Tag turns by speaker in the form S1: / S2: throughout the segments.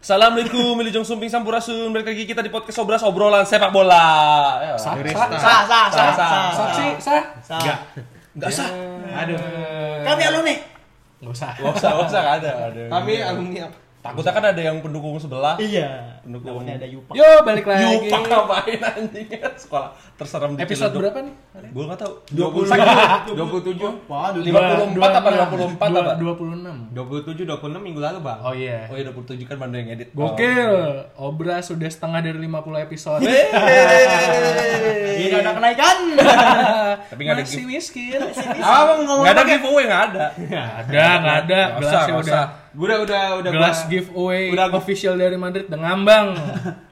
S1: Assalamualaikum, Mili Jong Sumping Sampurasun. Balik lagi kita di podcast Obras Obrolan Sepak Bola. Ya,
S2: Sah,
S3: Dari
S2: sah,
S3: start.
S2: sah, sah,
S1: Sah,
S2: sah,
S1: sah,
S2: sah,
S1: sah.
S2: sih, sah.
S3: Sah.
S1: Enggak. Enggak usah.
S3: Aduh.
S2: Kami alumni.
S3: Nggak usah.
S1: Enggak usah, enggak usah enggak ada.
S2: Kami alumni apa?
S1: Takutnya kan ada yang pendukung sebelah.
S2: Iya.
S1: Pendukung.
S2: Namanya ada Yupak.
S3: Yo, balik lagi.
S1: Yupak ngapain anjing? Sekolah terserem di
S3: Episode berapa nih?
S1: Gue enggak tahu.
S4: 27
S2: Waduh,
S1: 54 apa 24 apa?
S3: 26.
S4: 27 26 minggu lalu, Bang.
S3: Oh iya.
S1: Oh
S3: Oh,
S1: ya 27 kan mana yang edit.
S3: Gokil. Obra sudah setengah dari 50 episode.
S2: tidak ada kenaikan.
S1: Tapi nggak ada
S3: Masih
S1: gift-
S3: miskin.
S2: Apa mau ngomong?
S1: Enggak ada giveaway, enggak ada.
S3: Nggak ada, nggak ada.
S1: Nggak usah,
S3: Gelasnya
S1: nggak
S3: udah.
S1: usah.
S4: Gua udah udah udah
S3: Gelas gitu.
S4: gua-
S3: giveaway
S4: Udah gua-
S3: official dari Madrid udah ngambang.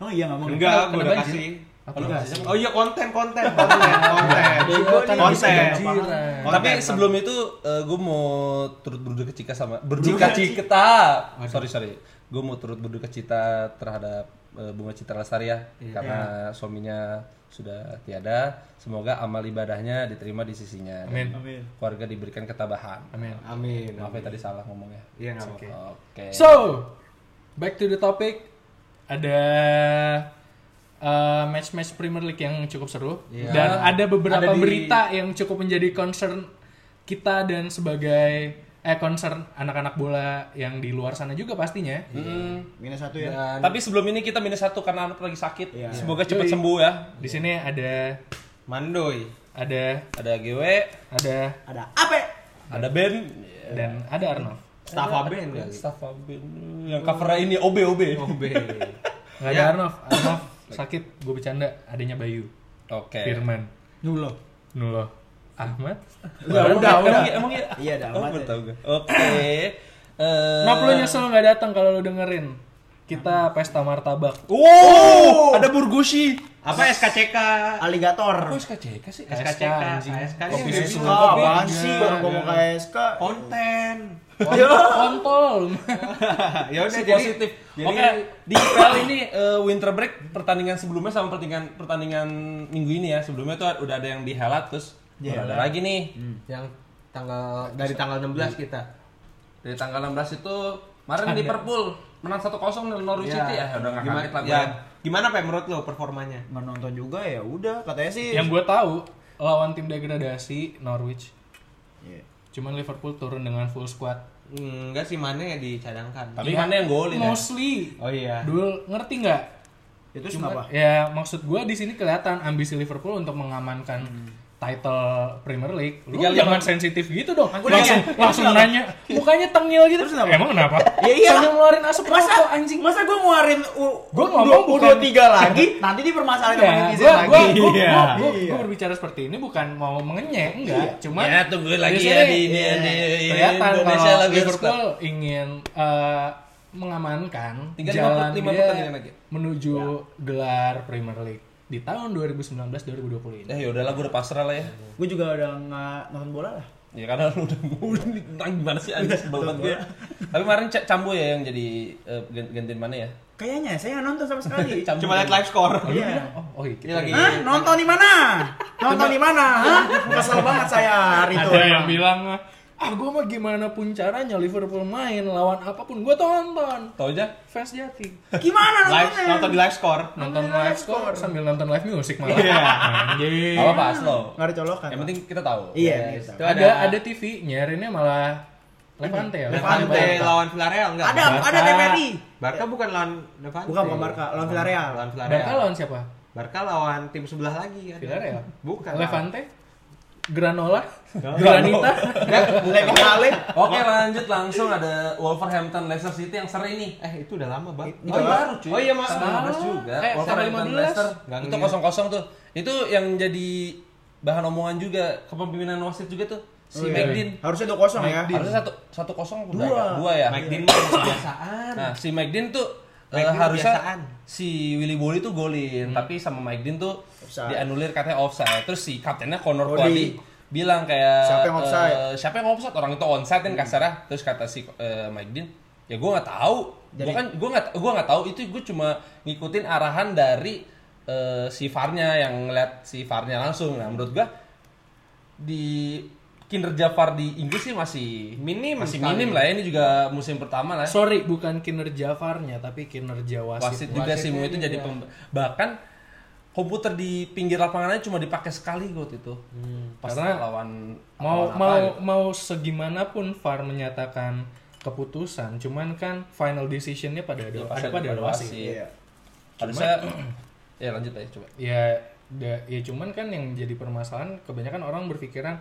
S2: Oh iya nggak mau.
S4: Enggak,
S3: Kenapa
S4: gua udah
S3: banjir?
S4: kasih.
S3: Apa kasih?
S4: Oh iya, konten konten konten konten. konten.
S2: Oh,
S4: Konten.
S1: Tapi sebelum itu gue mau turut berduka cita sama berduka cita. Sorry sorry. Gue mau turut berduka cita terhadap eh, Bunga Citra Lestari ya karena suaminya sudah tiada. Semoga amal ibadahnya diterima di sisinya. dan
S3: Amin.
S2: Amin.
S1: Keluarga diberikan ketabahan.
S3: Amin.
S4: Amin.
S1: Maaf ya tadi salah ngomongnya.
S4: Iya, enggak apa-apa.
S1: Oke.
S3: So, back to the topic. Ada uh, match-match Premier League yang cukup seru dan ada beberapa
S4: Iya. Ada di-
S3: berita yang cukup menjadi concern kita dan sebagai eh concern anak-anak bola yang di luar sana juga pastinya.
S4: Iya.
S1: Mm.
S2: Minus satu ya.
S1: Tapi sebelum ini kita minus satu karena anak lagi sakit. Semoga cepat sembuh ya.
S3: Di sini ada
S4: Mandoy.
S3: ada
S1: Ada GW,
S3: ada
S2: Ada apa?
S1: ada Ben,
S4: Iya.
S3: dan ada Arnav.
S4: Staff Aben
S2: Iya.
S1: ya,
S4: kali.
S1: staff Ben yang cover ini OB OB.
S2: Oh.
S4: OB.
S3: Nggak
S4: Ya.
S3: ada Arnav. Arnav sakit, gue bercanda. Adanya Bayu,
S4: Eh.
S1: Oke.
S3: Firman,
S2: Nulo.
S3: Nuloh, Ahmad.
S1: Udah, udah, udah. Emang iya?
S2: Iya, udah,
S1: Oh,
S2: amat
S1: baru
S2: ya.
S1: tahu gue. Oke. Eh,
S3: Kenapa lu nyesel nggak datang kalau lu dengerin? Kita pesta martabak.
S1: Wow, ada Burgushi.
S4: Apa SKCK? Oh,
S2: Aligator.
S1: SKCK sih?
S4: SKCK,
S3: anjing.
S4: SK.
S3: Kopi
S4: Kopi
S3: susu.
S4: susu.
S2: Ah, apaan sih?
S3: Iya,
S2: Baru ngomong
S3: iya.
S2: KSK.
S4: Konten.
S3: Kontol.
S4: ya udah
S1: Si
S4: jadi
S1: positif.
S4: Jadi
S1: Oke, di IPL ini eh, winter break pertandingan sebelumnya sama pertandingan pertandingan minggu ini ya. Sebelumnya tuh udah ada yang di Helat terus baru ada lagi nih.
S4: yang tanggal dari tanggal 16 kita.
S1: Dari tanggal 16 itu kemarin Liverpool menang 1-0 dari Norwich City ya. Udah enggak
S4: gimana?
S1: kaget lah
S4: ya,
S1: gue.
S4: Gimana Pak menurut lo performanya?
S2: Nggak nonton juga ya udah katanya sih.
S3: Yang gue tahu lawan tim degradasi Norwich.
S2: Iya.
S3: Cuman Liverpool turun dengan full squad. Iya.
S4: Hmm, Enggak sih mana yang dicadangkan.
S1: Tapi mana yang golin ya?
S3: Mostly.
S4: Oh iya.
S3: Dul ngerti nggak?
S2: Itu
S3: Cuman-
S2: kenapa?
S3: Ya maksud gue di sini kelihatan ambisi Liverpool untuk mengamankan title Premier League. Lu
S1: Tiga lima.
S3: jangan sensitif gitu dong.
S2: Udah,
S3: langsung
S2: iya.
S3: langsung nanya. Mukanya tengil gitu.
S2: Terus kenapa?
S3: Emang kenapa?
S2: Ya iya.
S3: Soalnya ngeluarin asap rokok
S2: Masa
S3: anjing.
S2: masa gue nguarin u
S3: Gua
S2: u-
S3: ngomong
S2: u-
S3: bukan-
S2: 23 lagi nanti dipermasalahin sama
S3: Iya,
S2: netizen
S3: gua,
S2: lagi.
S3: gua, gua, gua, gua,
S2: Iya.
S3: gua berbicara seperti ini bukan mau mengenyek, enggak. Cuma
S1: Ya, tungguin lagi
S3: sini,
S1: ya di- di-
S3: iya,
S1: di- di
S3: kelihatan
S1: Indonesia
S3: kalau
S1: lagi
S3: Liverpool ingin eh, mengamankan
S1: Tinggal lima
S3: jalan
S1: puluh- lima
S3: dia
S1: pertandingan lagi.
S3: menuju gelar Premier League di tahun 2019-2020 ini.
S1: Eh, ya udahlah gue udah pasrah lah ya.
S2: Gue juga udah nggak nonton bola lah.
S1: Ya karena lu udah udah ditentang gimana sih anjing sebel banget gue. Tapi kemarin Ca- Cambu ya yang jadi eh, gan- gantiin mana ya?
S2: Kayaknya saya nggak nonton sama sekali.
S1: Cambu.
S4: Coba lihat live score.
S3: Oh, lu bilang, oh, oh iya, kita-
S4: lagi.
S2: Iya, Hah? Nonton di mana? Nonton di mana? Hah? Kesel banget saya hari itu.
S3: ada yang bilang ah gue mah gimana pun caranya Liverpool main lawan apapun gue tonton.
S1: Tau aja.
S3: Fans jati
S2: Gimana
S4: Live
S2: nontonnya?
S4: nonton di live score.
S3: nonton live score sambil nonton live music malah.
S4: Iya.
S3: Anjing.
S1: Apa apa slow.
S2: Nggak ada colokan.
S1: Yang penting kita tahu.
S2: Iya.
S4: Yes.
S2: gitu.
S4: Itu
S3: ada ada TV nyarinnya malah Levante ya
S4: Levante lawan Villarreal enggak?
S2: Ada
S3: Barca.
S2: ada TPRI.
S4: Barca bukan lawan Levante.
S2: Bukan bukan Barca, lawan Villarreal. Eh,
S4: Lawan Villarreal.
S3: Barca lawan siapa
S4: Barca lawan tim sebelah lagi kan.
S3: Villarreal
S4: Bukan.
S3: Levante Granola
S4: Granola.
S3: Granita
S4: Enggak,
S2: Lego Kale.
S1: Oke lanjut langsung ada Wolverhampton Leicester City yang seri nih.
S4: Eh, itu udah lama, Bang.
S2: Itu
S1: Oh,
S2: Enggak.
S1: baru cuy.
S4: Oh iya, maaf.
S1: Sama 15 juga.
S3: Eh,
S1: Wolverhampton
S3: sama 15.
S1: Leicester.
S4: Nggak
S1: Itu
S4: ngeliat.
S1: kosong-kosong tuh. Itu yang jadi bahan omongan juga kepemimpinan wasit juga tuh si
S2: Oh, iya.
S1: Megdin.
S2: Harusnya 2-0 ya.
S1: Harusnya satu satu kosong
S2: Dua.
S1: dua ya.
S4: Mike Dean mah kebiasaan.
S1: Nah, si Mike Dean tuh
S4: Mike
S1: eh,
S4: Dean
S1: harusnya
S4: kebiasaan.
S1: si Willy Bolly tuh golin, tapi sama Mike Dean tuh
S2: Hmm. Offside.
S1: dianulir katanya offside. Terus si kaptennya Connor
S2: Cody.
S1: Cody bilang kayak
S2: Siapa yang offside? Hmm.
S1: eh, siapa yang offside? Orang itu onside kan kasarnya. Terus kata si eh, Mike Dean, "Ya gua nggak tahu." Gua kan gua nggak gua nggak tahu itu gua cuma ngikutin arahan dari eh, si VAR-nya yang ngeliat si VAR-nya langsung. Nah, menurut gua di kinerja VAR di Inggris sih masih
S4: Minim
S1: masih
S4: sekali.
S1: minim lah ya. ini juga musim pertama lah. ya.
S3: Sorry, bukan kinerja VAR-nya, tapi kinerja wasit.
S1: wasit ya, iya. juga sih Mu itu jadi pem- bahkan komputer di pinggir lapangannya cuma dipakai sekali gue waktu itu. Pas
S3: Karena
S1: lawan
S3: Mau
S1: lawan apa
S3: mau
S1: gitu.
S3: mau segimana pun VAR menyatakan keputusan, cuman kan final decision-nya pada ada,
S1: pasti
S3: ada pada
S1: ada
S3: wasit.
S1: wasit. Iya. Harusnya ya lanjut aja coba.
S3: ya da- ya cuman kan yang jadi permasalahan kebanyakan orang berpikiran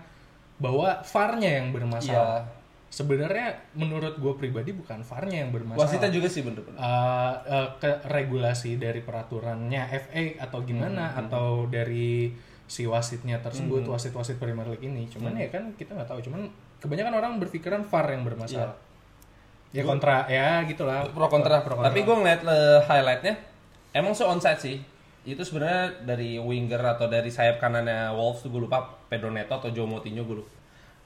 S3: bahwa VAR-nya yang bermasalah.
S1: Iya.
S3: Sebenarnya menurut gue pribadi bukan VAR-nya yang bermasalah.
S1: Wasitnya juga sih bener-bener.
S3: Eh, eh, ke regulasi dari peraturannya FA atau
S1: Hmm,
S3: gimana atau dari si wasitnya tersebut wasit-wasit Premier League ini cuman
S1: Hmm.
S3: ya kan kita nggak tahu cuman kebanyakan orang berpikiran VAR yang bermasalah ya kontra ya
S1: Iya.
S3: gitulah
S1: pro kontra pro kontra. Tapi gue ngeliat eh, highlightnya emang so onside sih. Itu sebenarnya dari winger atau dari sayap kanannya Wolves tuh gue lupa Pedro Neto atau Joe Moutinho gue lupa.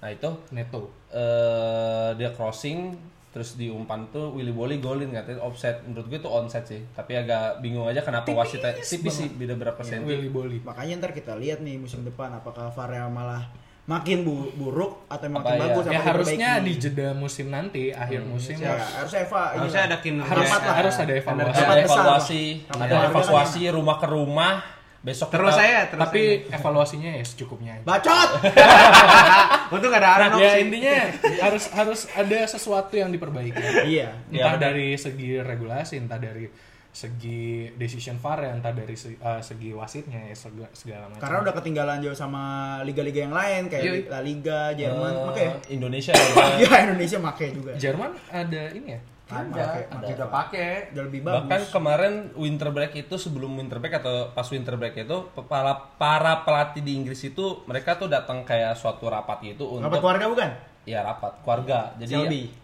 S1: Nah itu
S3: neto
S1: eh dia crossing terus diumpan tuh Willy Bolly golin katanya offset menurut gue itu onside sih tapi agak bingung aja kenapa wasitnya tipis sih beda berapa senti
S3: Willy Bolly
S2: Makanya ntar kita lihat nih musim depan apakah Varel malah makin bu- buruk atau makin
S1: Apa ya?
S2: bagus
S3: ya
S2: apa
S3: harusnya
S2: diperbaiki.
S3: di jeda musim nanti akhir musim
S2: ya, harus Eva ini
S4: Harusnya
S2: lah.
S4: ada kinerja.
S3: harus
S2: Rapat lah.
S3: harus ada
S1: ada
S3: evaluasi
S2: Rapat besar.
S1: evaluasi
S2: Rapat
S1: ada
S2: keluarga
S1: evakuasi rumah ke rumah besok
S4: Terus
S1: kita-
S4: saya, terus
S3: tapi evaluasinya ya secukupnya aja.
S2: bacot
S4: saya. Untung gak ada Arnold
S3: ya
S4: sih.
S3: intinya harus harus ada sesuatu yang diperbaiki
S2: iya
S1: Ya,
S3: entah
S1: benar.
S3: dari segi regulasi entah dari segi decision VAR ya, entah dari se- eh, segi wasitnya ya segala, segala macam
S2: karena udah ketinggalan jauh sama liga-liga yang lain kayak
S3: Yoi.
S2: La Liga
S1: Eh,
S2: Jerman pakai ya
S1: Indonesia
S2: ya
S1: juga.
S2: Indonesia pakai juga
S3: Jerman ada ini ya
S2: ada
S4: Masih udah pakai.
S2: udah lebih bagus
S1: bahkan kemarin winter break itu sebelum winter break atau pas winter break itu para para pelatih di Inggris itu mereka tuh datang kayak suatu rapat gitu
S2: rapat
S1: untuk
S2: keluarga Iya. bukan
S1: ya rapat keluarga jadi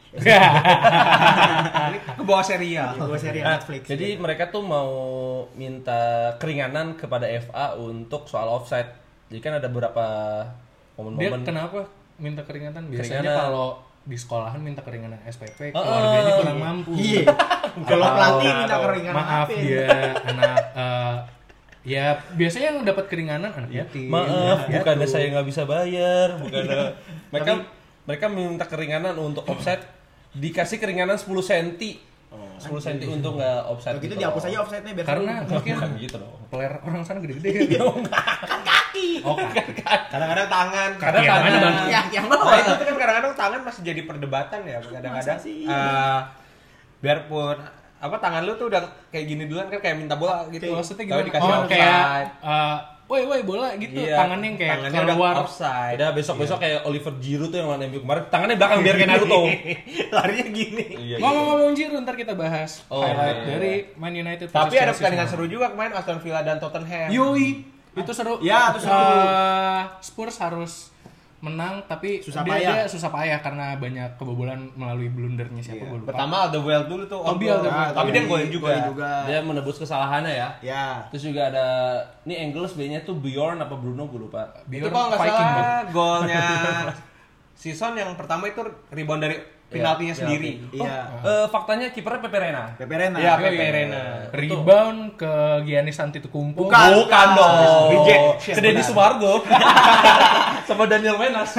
S2: Selby
S4: Ke bawah serial.
S2: ya, gua seri
S1: Nah,
S2: Netflix
S1: Jadi mereka tuh mau minta keringanan kepada FA untuk soal offside. Jadi kan ada beberapa
S3: dia
S1: momen-momen.
S3: kenapa minta keringanan biasanya
S1: Keringanan.
S3: kalau di sekolahan minta keringanan SPP
S1: Oh,
S3: keluarganya
S1: oh.
S3: kurang mampu
S2: iya kalau
S3: Atau-
S2: pelatih minta keringanan
S3: maaf iya.
S2: apa?
S3: dia anak eh, ya biasanya yang dapat keringanan anak ya. yatim
S1: Maaf,
S3: anak
S1: bukan
S3: piatu.
S1: saya nggak bisa bayar, bukan mereka mereka minta keringanan untuk offside dikasih keringanan 10 cm. 10 cm untuk nggak offside.
S2: Oh, Kalau gitu
S1: gitu
S2: dihapus
S1: loh.
S2: aja offside-nya biar
S3: karena mungkin
S1: Bukan gitu loh.
S3: player orang sana gede-gede kan kaki oh kaki
S4: Kadang-kadang tangan. Iya,
S1: Kadang
S3: yang mana,
S1: tangan.
S3: Bang?
S2: ya yang bawah
S4: Nah, itu kan kadang-kadang tangan masih jadi perdebatan ya kadang-kadang
S2: Masa sih?
S4: eh, biarpun apa tangan lu tuh udah kayak gini duluan kan kayak minta bola gitu
S3: maksudnya
S4: Tapi
S3: gimana?
S4: dikasih
S3: oh,
S4: offside.
S3: kayak eh, woi woi bola gitu
S1: Iya,
S3: tangannya yang kayak
S4: tangannya udah
S3: keluar
S4: offside
S1: Ada besok-besok kayak Oliver Giroud tuh yang lawan MU kemarin, tangannya belakang biar kayak Naruto.
S4: larinya gini
S1: Iya, gitu.
S3: ngomong-ngomong Giroud ntar kita bahas
S1: Oh,
S3: highlight
S1: iya.
S3: dari Man United
S4: tapi
S3: versus
S4: ada
S3: Chelsea
S4: pertandingan
S3: semalam.
S4: seru juga kemarin Aston Villa dan Tottenham
S3: yoi itu seru
S2: Ya, itu seru.
S3: Eh, Spurs harus menang tapi
S2: Susah
S3: dia,
S2: payah.
S3: dia susah payah karena banyak kebobolan melalui blundernya siapa gue lupa
S4: Iya, pertama Alderweireld dulu tuh on
S3: Toby
S4: goal.
S3: Alderweireld.
S4: tapi dia golin juga
S2: Golin juga
S1: Dia menebus kesalahannya ya.
S2: ya
S1: Terus juga ada ini Angles B-nya tuh Bjorn apa Bruno gue lupa.
S4: itu
S3: Bjorn
S4: kalau nggak
S3: Viking,
S4: salah
S3: Bang.
S4: golnya season yang pertama itu rebound dari penaltinya
S1: Iya,
S4: sendiri
S1: penalti.
S2: Iya.
S1: Oh, eh, faktanya kipernya Pepe Reina.
S2: Pepe Reina
S4: Iya,
S3: Yoi.
S4: Pepe Reina.
S3: rebound ke Giannis Antetokounmpo
S2: Bukan.
S1: Bukan dong.
S4: Reject.
S1: Sedih di Sumargo. Sama Daniel Menas.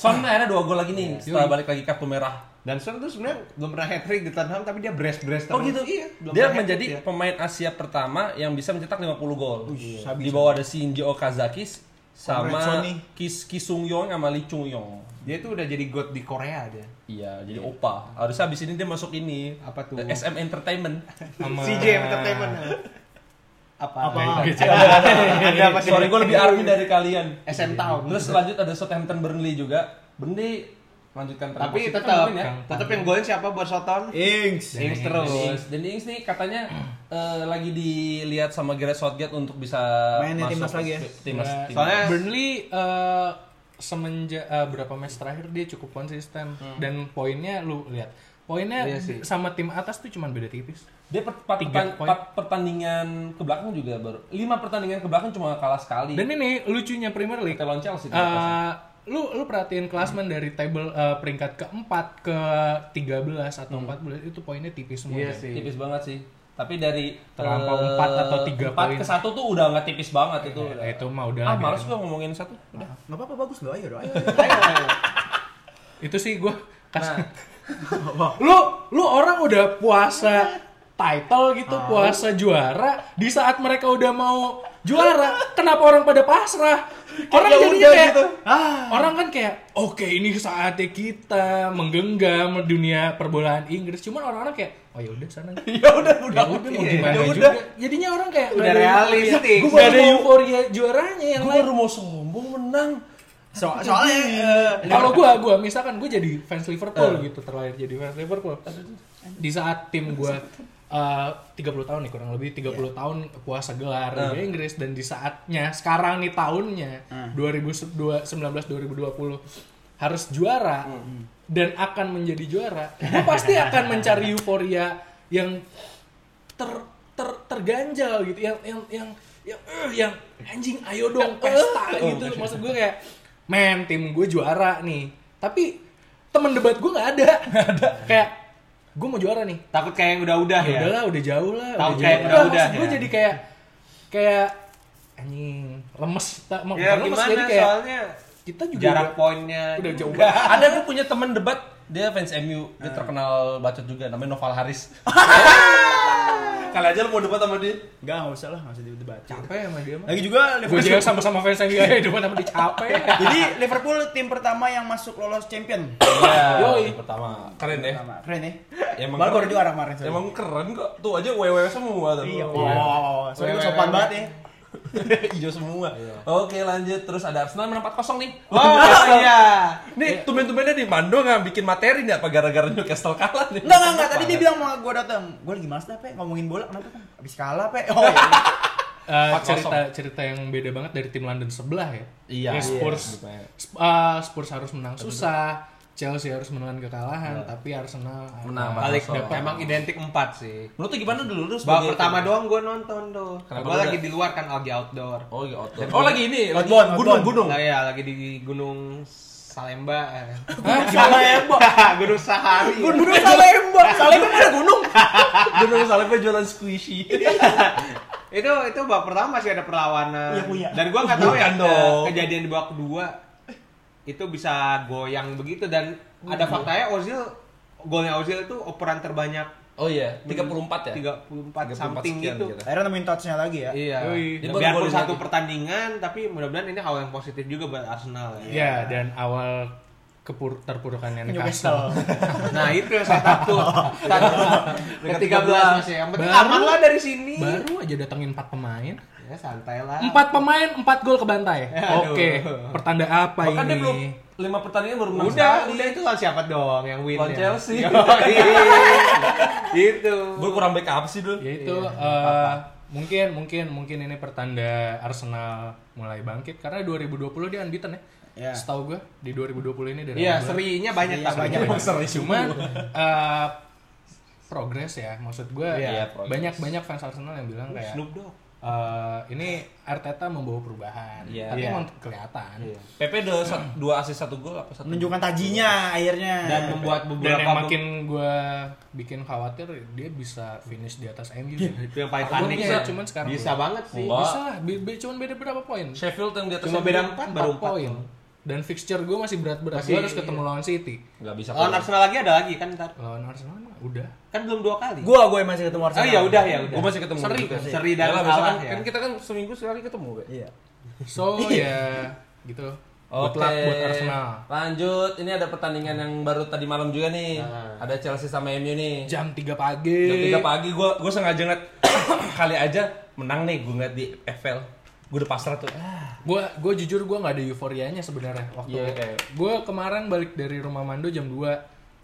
S1: Son akhirnya dua gol lagi nih setelah balik lagi kartu merah.
S4: dan Son tuh sebenarnya belum pernah hat trick di Tottenham tapi dia brace brace
S1: Oh gitu.
S4: iya belum
S1: Dia
S4: pernah hat-trick
S1: menjadi pemain Asia pertama yang bisa mencetak 50 gol.
S2: Wih,
S1: Iya.
S2: habis.
S1: Di bawah ada Shinji Okazaki
S2: Comrade
S1: sama
S2: Sonny.
S1: Kis Kisung Yong sama Lee Chung Yong.
S4: Dia tuh udah jadi god di Korea dia.
S1: Iya, jadi opa. Harusnya habis ini dia masuk ini.
S4: Apa tuh?
S1: SM Entertainment.
S3: sama
S4: Apa? Iya,
S2: Apa?
S4: Ada apa sih?
S1: Sorry, gue lebih army dari kalian.
S4: SM Town.
S1: Terus lanjut ada Southampton Burnley juga. Burnley lanjutkan tren
S4: Tapi
S1: positif
S4: tetap
S1: mungkin
S4: tetap yang golin siapa buat Soton?
S2: Ings
S4: Ings
S1: Terus
S4: terus.
S1: dan di Ings nih katanya eh, lagi dilihat sama Gareth Southgate untuk bisa
S2: Main di
S1: masuk
S2: timnas lagi ya?
S1: Timnas.
S3: Nah,
S1: timnas.
S4: Soalnya
S3: Burnley eh, semenjak eh, berapa match terakhir dia cukup konsisten dan poinnya lu lihat poinnya
S4: Hmm. Iya sih. Hmm.
S3: sama tim atas tuh cuman beda tipis
S1: dia per- per- pertan-
S3: Tiga poin.
S1: per- pertandingan ke belakang juga baru lima pertandingan ke belakang cuma kalah sekali.
S3: dan ini lucunya Premier League
S1: kita lawan Chelsea. di atas.
S3: eh, lu lu perhatiin klasmen
S4: Hmm.
S3: dari table eh, peringkat keempat ke 13 atau 14 itu poinnya tipis semua
S4: Iya
S3: Dan
S4: sih.
S1: tipis banget sih. Tapi dari eh,
S3: Terlampau empat atau tiga
S1: empat
S3: poin.
S1: ke satu tuh udah nggak tipis banget itu. udah.
S3: Ya, itu mah udah
S1: ah,
S3: biarin.
S1: males gua ngomongin satu. Udah.
S2: Nggak apa-apa bagus loh, ayo dong. Ayo.
S3: itu sih gue
S1: Nah,
S2: Nah.
S3: lu lu orang udah puasa title gitu
S2: Ah.
S3: puasa juara di saat mereka udah mau juara kenapa orang pada pasrah orang
S2: Ya
S3: jadinya
S2: udah
S3: kayak
S2: gitu. Ah.
S3: orang kan kayak oke ini saatnya kita menggenggam dunia perbolaan Inggris cuman orang-orang kayak oh ya udah sana
S2: Ya
S3: ya
S2: udah, udah.
S3: udah mau gimana
S2: Ya
S3: juga
S2: udah.
S3: jadinya orang kayak
S4: Udah realistik.
S3: gue ada euforia juaranya yang
S1: gua
S3: lain
S1: baru mau sombong menang.
S2: So soalnya eh,
S3: kalau gue gue misalkan gue jadi fans Liverpool gitu terlahir jadi fans Liverpool di saat tim gue eh 30 tahun nih kurang lebih 30 tahun puasa gelar Liga Inggris dan di saatnya sekarang nih tahunnya 2019 2020 harus juara dan akan menjadi juara gue pasti akan mencari euforia yang ter ter terganjal gitu yang yang yang yang, eh, yang anjing ayo dong pesta gitu maksud gue kayak men tim gue juara nih tapi teman debat gue nggak ada kayak gue mau juara nih
S4: Takut kayak yang udah-udah
S3: ya
S4: ya.
S3: udahlah udah jauh lah
S4: Tahu
S3: udah iya.
S4: kayak
S3: jauh.
S4: udah-udah
S3: Nggak, maksud gue
S4: ya.
S3: jadi kayak kayak anjing lemes tak mau
S4: Ya
S3: bukan lemes
S4: gimana
S3: jadi kayak
S4: soalnya
S3: kita juga
S4: jarak gitu.
S3: udah,
S4: poinnya
S3: udah
S4: juga.
S3: jauh banget
S1: Ada gue punya teman debat, dia fans MU, dia terkenal bacot juga namanya Noval Haris. Kali aja lu mau debat sama dia.
S2: enggak enggak usah lah, enggak usah dibaca.
S3: capek sama dia mah
S2: Lagi juga
S3: gue
S2: Liverpool.
S3: juga sama-sama fans yang dia hidup sama dia capek
S2: Jadi Liverpool tim pertama yang masuk lolos champion.
S1: Iya,
S3: Yoi.
S1: yang pertama. Keren ya.
S2: Pertama. Keren ya.
S1: Emang
S2: Baru
S1: keren.
S2: baru juara kemarin. sorry.
S1: Emang keren kok. Tuh aja wewe semua tuh.
S2: Iya. Wow, soalnya gue sopan banget ya.
S1: Hijau semua. Oke, lanjut. Terus ada Arsenal menang 4-0 nih.
S4: Wah, iya.
S1: Nih, tumben-tumbennya di Mando nggak bikin materi nih apa gara-gara Newcastle kalah nih.
S2: Enggak, enggak, enggak. Tadi dia bilang mau gue datang. Gue lagi malas dah, Pe. Ngomongin bola kenapa, Pe? Habis kalah, Pe. Oh, iya.
S3: Eh,
S1: 4-0.
S3: cerita cerita yang beda banget dari tim London sebelah ya.
S1: Iya,
S3: Ya, Spurs
S1: iya.
S3: Sp- eh, Spurs harus menang susah, Chelsea harus menelan kekalahan, tapi Arsenal
S1: Menang,
S3: akhirnya
S4: Balik
S3: dapat.
S4: emang identik 4 sih.
S1: Menurut tuh gimana dulu lu
S4: Babak
S1: sebagai-
S4: pertama doang gue nonton tuh.
S1: Kenapa
S4: Gue
S1: lu
S4: lagi
S1: udah-
S4: di luar kan lagi outdoor.
S1: Oh, iya, outdoor. Oh, lagi ini, lagi
S2: Outbound,
S1: gunung,
S2: outbound.
S1: gunung.
S4: Nah, ya, lagi di Gunung Salemba. eh.
S2: Salah embok.
S4: gunung Sahari.
S2: Gunung salah embok. Salah embok ada gunung.
S1: Gunung Salemba jualan squishy.
S4: itu itu babak pertama masih ada perlawanan.
S2: Iya, punya.
S4: Dan gua nggak tahu
S1: Bukan
S4: ya ada
S1: dong.
S4: kejadian di babak kedua itu bisa goyang begitu dan
S1: Iya.
S4: ada faktanya Ozil golnya Ozil itu operan terbanyak
S1: Oh iya, 34 ya? 34
S4: 34, something
S1: sekian
S4: gitu.
S1: kira.
S2: Akhirnya nemuin touch-nya lagi ya.
S4: Iya.
S3: Yoi.
S4: Ya,
S1: Baru
S4: Biarpun
S1: golin
S4: satu
S1: lagi.
S4: pertandingan tapi mudah-mudahan ini awal yang positif juga buat Arsenal ya.
S3: Ya, dan awal kepur terpurukannya Newcastle.
S2: Newcastle.
S4: Nah, itu yang saya takut. Takut. Ke 13 masih yang penting
S3: Baru-
S4: aman lah dari sini.
S3: Baru aja datengin 4 pemain.
S4: Ya santai lah.
S3: Empat pemain, empat gol ke bantai.
S4: Aduh.
S3: Oke, pertanda apa
S1: Bahkan Kan dia
S3: ini?
S1: belum 5 pertandingan baru menang
S4: Udah,
S1: sekali.
S4: udah itu lawan siapa dong yang win
S1: Lawan Chelsea.
S4: itu.
S1: Gue kurang backup sih dulu.
S3: Yaitu eh, mungkin mungkin mungkin ini pertanda Arsenal mulai bangkit karena 2020 dia unbeaten ya.
S2: Iya.
S3: Setahu gue di 2020 ini dari
S4: Iya,
S3: awal.
S4: serinya banyak tapi.
S2: banyak.
S3: Emang
S4: ya,
S3: seri cuman eh, progres ya maksud gue
S1: Iya, progres.
S3: banyak banyak fans Arsenal yang bilang kayak
S4: Snoop Dogg.
S3: eh, ini Arteta membawa perubahan
S1: Iya.
S3: tapi
S1: Iya.
S3: emang kelihatan
S1: PP udah sat- dua asis satu gol apa satu?
S2: Menunjukkan tajinya akhirnya.
S4: dan membuat
S3: dan
S4: beberapa
S3: yang makin gue bikin khawatir dia bisa finish di atas MU sih.
S1: Iya.
S4: itu yang paling
S3: Aku
S4: panik
S3: bisa,
S4: sih.
S3: cuman sekarang
S4: bisa
S3: belum.
S4: banget sih.
S1: Enggak.
S3: bisa lah be- be- cuman beda berapa poin
S1: Sheffield yang di atas
S4: Cuma
S1: MU.
S4: beda empat baru
S3: Empat
S4: empat.
S3: poin dan fixture gue masih berat-berat
S4: Masih-
S3: gue harus ketemu lawan City
S1: nggak bisa.
S4: Lawan Arsenal lagi ada lagi kan ntar.
S3: lawan Arsenal mah udah
S4: Kan belum dua kali.
S2: Gua gua yang masih ketemu
S4: Oh
S2: Arsenal.
S4: ya udah ya udah.
S1: Gue masih ketemu.
S4: Seri,
S1: juga sih.
S4: seri dan
S1: Iya. Yalah, besok
S4: kalah
S1: kan-
S4: ya.
S1: Kan kita kan seminggu sekali ketemu, Be.
S2: Iya.
S3: so
S1: Iya.
S3: ya gitu Good luck buat Arsenal
S1: Lanjut, ini ada pertandingan yang baru tadi malam juga nih. Ada Chelsea sama MU nih.
S3: jam 3 pagi
S1: Jam 3 pagi gua gua sengaja ngeliat kali aja menang nih gua ngeliat di FL. Gua udah pasrah tuh. Ah,
S3: gue gue jujur gue nggak ada euforianya sebenarnya waktu
S1: Iya, kayak-
S3: gue kemarin balik dari rumah Mando jam 2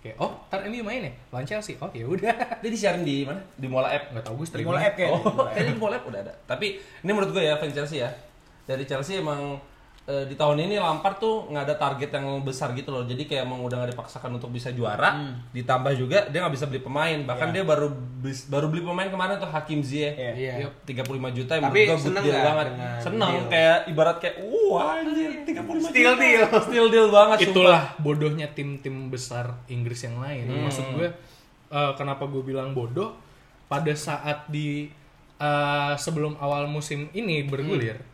S3: kayak oh ntar MU main ya lawan Chelsea oh ya udah
S1: dia disiarin di mana? Di Mola App.
S3: nggak tahu gue
S2: Di
S3: streaming
S2: Mola app kayak.
S1: Oh, kayaknya di Mola App udah ada. Tapi ini menurut gua ya fans Chelsea ya. Dari Chelsea emang eh, di tahun ini Lampard tuh nggak ada target yang besar gitu loh. Jadi kayak emang udah nggak dipaksakan untuk bisa juara. Ditambah juga dia nggak bisa beli pemain. Bahkan dia baru bis- baru beli pemain kemarin tuh Hakim Ziyech.
S2: Iya.
S4: Iya.
S1: 35 juta yang
S4: Tapi
S1: menurut gua
S4: seneng
S1: good deal
S4: nggak
S1: banget.
S4: dengan
S1: Seneng
S4: deal?
S1: kayak ibarat kayak wah anjir 35
S4: Still
S1: juta.
S4: deal.
S1: Still deal banget sumpah.
S3: itulah bodohnya
S1: Hmm.
S3: tim-tim besar Inggris yang lain maksud gue eh, kenapa gue bilang bodoh pada saat di eh, sebelum awal musim ini bergulir,
S1: Hmm.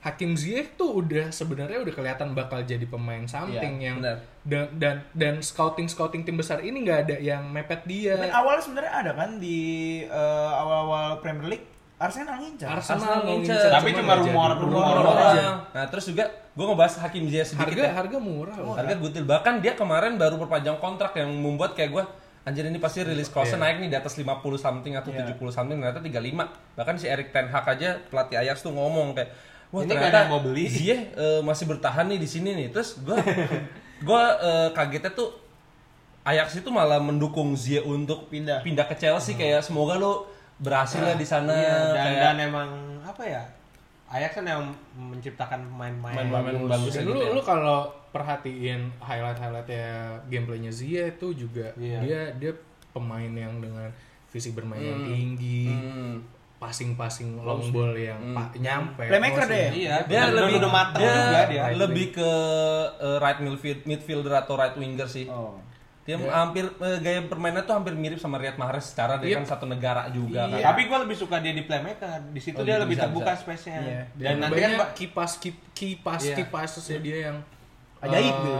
S3: Hakim Ziyech tuh udah sebenarnya udah kelihatan bakal jadi pemain something
S1: Iya,
S3: yang
S1: benar.
S3: dan dan dan scouting scouting tim besar ini nggak ada yang mepet dia.
S2: Dan awalnya sebenarnya ada kan di eh, awal-awal Premier League Arsenal
S1: Arsenal
S3: Ya,
S2: ngincar.
S3: Arsenal mau
S1: ngincer.
S3: ngincer,
S4: Tapi cuma
S3: nggak
S4: rumor-
S3: jadi.
S4: rumor
S3: aja.
S1: Nah, terus juga gue ngebahas Hakim Ziyech sedikit
S3: Harga
S1: ya.
S3: harga murah.
S4: Oh,
S3: loh.
S1: Harga gutil. Bahkan dia kemarin baru perpanjang kontrak yang membuat kayak gue anjir ini pasti rilis costnya
S4: Iya.
S1: naik nih di atas 50 something atau 70 something ternyata 35. Bahkan si Erik Ten Hag aja pelatih Ajax tuh ngomong kayak wah
S4: Ini nggak
S1: ternyata
S4: ada yang mau beli."
S1: Ziyech eh, masih bertahan nih di sini nih. Terus gue gue kagetnya tuh Ajax itu malah mendukung Ziyech untuk
S2: Pindah.
S1: pindah ke Chelsea kayak semoga lo berhasil lah di sana
S4: Hmm. Iya, dan
S1: Kayak-
S4: dan emang apa ya? Ajax kan yang menciptakan Iya, pemain-pemain
S1: Pemain-pemain bagus
S3: Dan
S1: gitu
S3: lu,
S1: ya.
S3: lu kalau perhatiin highlight-highlightnya gameplaynya Zia itu juga
S4: Iya.
S3: dia dia pemain yang dengan visi bermain yang tinggi,
S1: Hmm.
S3: passing-passing long ball yang pa- nyampe.
S2: Playmaker
S3: crossing.
S2: deh ya?
S4: Iya,
S1: dia
S4: dan
S1: lebih
S4: udah matang
S1: dia,
S4: juga dia.
S1: right lebih ke eh, right midfield, midfielder atau right winger sih.
S2: Oh.
S1: Dia hampir eh, gaya permainnya tuh hampir mirip sama Riyad Mahrez secara dia kan satu negara juga
S4: Iya.
S1: kan.
S4: Tapi gue lebih suka dia di playmaker. Di situ
S1: Oh,
S4: dia
S1: gitu,
S4: lebih
S1: bisa,
S4: terbuka
S1: bisa.
S4: space-nya.
S2: Iya.
S4: Dan nanti kan
S3: banyak
S4: Pak-
S3: kipas kip- kipas
S4: Iya.
S3: kipasnya dia yang eh,
S2: Ajaib gitu.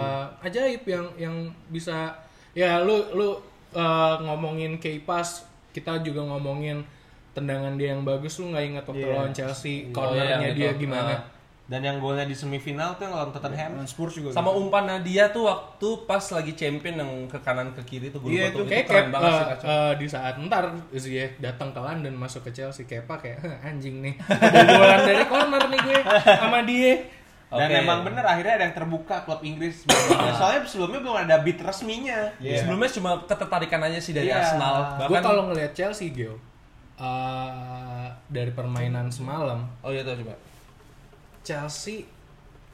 S3: ajaib yang yang bisa ya lu lu eh, ngomongin kipas kita juga ngomongin tendangan dia yang bagus lu nggak ingat waktu lawan Chelsea cornernya
S1: yang itu.
S3: dia gimana
S1: Ah.
S4: dan yang golnya di semifinal tuh yang lawan Tottenham.
S1: Iya.
S2: Dan Spurs juga. gitu.
S1: Sama umpan dia tuh waktu pas lagi champion yang ke kanan ke kiri tuh gue lupa
S3: Iya itu
S1: tuh
S3: kayak
S1: keren
S3: Kepa,
S1: banget sih
S3: eh,
S1: kacau.
S3: eh, di saat ntar Ziyech datang ke London masuk ke Chelsea Kepa kayak "Heh, anjing nih kebobolan dari corner nih gue sama dia
S4: Dan
S1: Oke.
S4: emang bener akhirnya ada yang terbuka klub Inggris. Nah, Soalnya sebelumnya belum ada bid resminya.
S1: Sebelumnya cuma ketertarikan aja sih dari
S4: Iya.
S1: Arsenal.
S3: gue kalau ngelihat Chelsea Gio eh, dari permainan semalam
S1: Oh iya tuh coba.
S3: Chelsea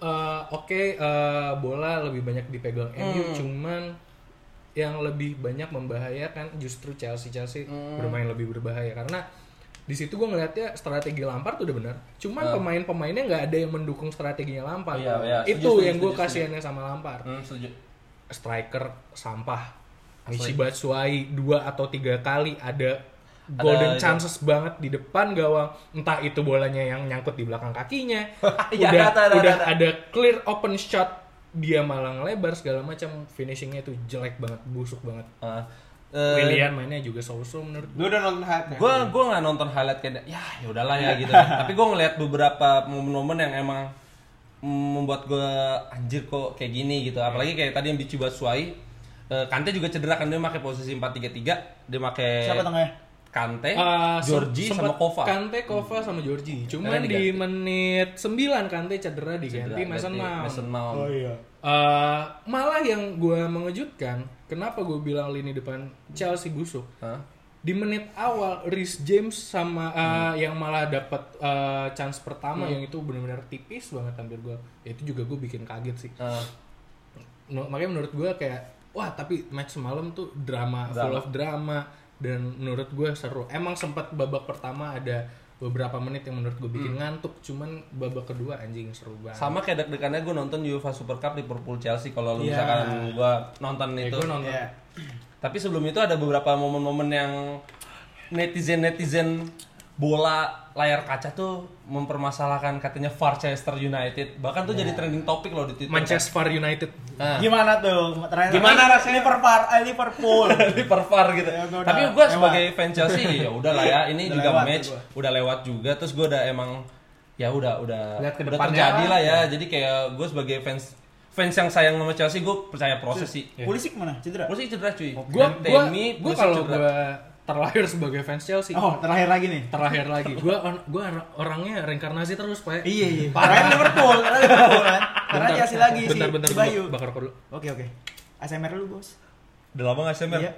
S3: eh, oke eh, bola lebih banyak dipegang MU
S1: Hmm.
S3: cuman yang lebih banyak membahayakan justru Chelsea Chelsea
S1: Hmm.
S3: bermain lebih berbahaya karena di situ gue ngelihatnya strategi Lampard tuh udah benar cuman pemain-pemainnya nggak ada yang mendukung strateginya
S1: Ah.
S3: Lampard
S1: Iya, iya. Setuju,
S3: itu
S1: setuju,
S3: yang gue
S1: setuju,
S3: kasihannya sama Lampard
S1: Hmm, setuju.
S3: striker sampah Michi Batshuayi dua atau tiga kali ada
S1: Ada
S3: golden
S1: itu.
S3: chances banget di depan gawang entah itu bolanya yang nyangkut di belakang kakinya
S1: Iya,
S3: udah
S1: ada, ada,
S3: udah
S1: ada.
S3: ada clear open shot dia malah ngelebar segala macam finishingnya itu jelek banget busuk banget
S1: Ah, eh,
S3: Willian mainnya juga so-so menurut
S4: Lu udah nonton hype
S1: gue gue nggak nonton highlight kayak ya ya udahlah ya gitu tapi gue ngeliat beberapa momen-momen yang emang mm, membuat gue anjir kok kayak gini
S2: Iya.
S1: gitu apalagi kayak tadi yang dicoba suai Kante juga cedera kan dia pakai posisi 4-3-3 dia pakai
S2: siapa Eh, tengahnya?
S1: Kante,
S3: Ah, se-
S1: Georgie Eh, sama
S3: sempet
S1: Kova. Iya,
S2: kan
S1: Hmm.
S3: Kante, Kova sama Georgie. Cuman
S1: Karena
S3: di menit 9 Kante cedera diganti
S1: Cedera,
S3: Mason
S1: berarti
S3: Mount.
S1: Mason Mount.
S2: Oh iya.
S3: Eh, malah yang gue mengejutkan, kenapa gue bilang lini depan Chelsea busuk?
S1: Hah?
S3: Di menit awal, Rhys James sama eh,
S1: Hmm.
S3: yang malah dapat eh, chance pertama yang itu benar-benar tipis banget tampil gue. Itu juga gue bikin kaget sih.
S1: Ah,
S3: No- makanya menurut gue kayak, wah tapi match semalam tuh drama, full of drama dan menurut gue seru. Emang sempat babak pertama ada beberapa menit yang menurut gue bikin ngantuk, cuman babak kedua anjing seru banget.
S1: Hmm. sama kayak deg-degannya gue nonton UEFA Super Cup Liverpool Chelsea kalau lu
S2: Iya.
S1: misalkan gue nonton
S2: Eh,
S1: itu Iya.
S3: Gue Ya, nonton.
S1: Tapi sebelum itu ada beberapa momen-momen yang netizen-netizen bola layar kaca tuh mempermasalahkan katanya Manchester United. Bahkan tuh jadi trending topik loh di Twitter.
S3: Iya. Manchester United
S1: Nah,
S2: Gimana tuh? Terakhir
S4: Gimana rasanya?
S2: Liverpool, eh, Liverpool.
S1: di pervar gitu.
S2: Ya, gua udah
S1: Tapi gue
S2: lewat.
S1: sebagai fan Chelsea ya udahlah ya, ini
S2: Udah
S1: juga
S2: lewat
S1: match
S2: tuh
S1: udah lewat juga terus gue udah emang ya udah udah
S3: Lihat ke
S1: udah
S3: depannya
S1: terjadi
S3: lah. Iya.
S1: lah ya. Jadi kayak gue sebagai fans fans yang sayang sama Chelsea gue percaya proses
S3: Iya.
S1: sih.
S2: Pulisic mana? Cedera.
S1: Gue sih cedera cuy.
S3: gue gue
S1: Temi,
S3: gue
S1: Pulisic
S3: kalau
S1: cedera.
S3: gue terlahir sebagai fans Chelsea
S2: Oh, terakhir lagi nih.
S3: terlahir lagi gue gue orangnya reinkarnasi terus pak
S2: Iya, iya. Karena Liverpool, karena Liverpool kan. Karena
S3: Bentar,
S2: Chelsea lagi
S3: bentar
S2: si
S3: bentar
S2: si
S3: gua
S2: iya, Bayu.
S3: bakar rokok dulu
S2: Oke, oke. ASMR dulu, Bos.
S1: udah lama gak sih Mer?
S2: Iya.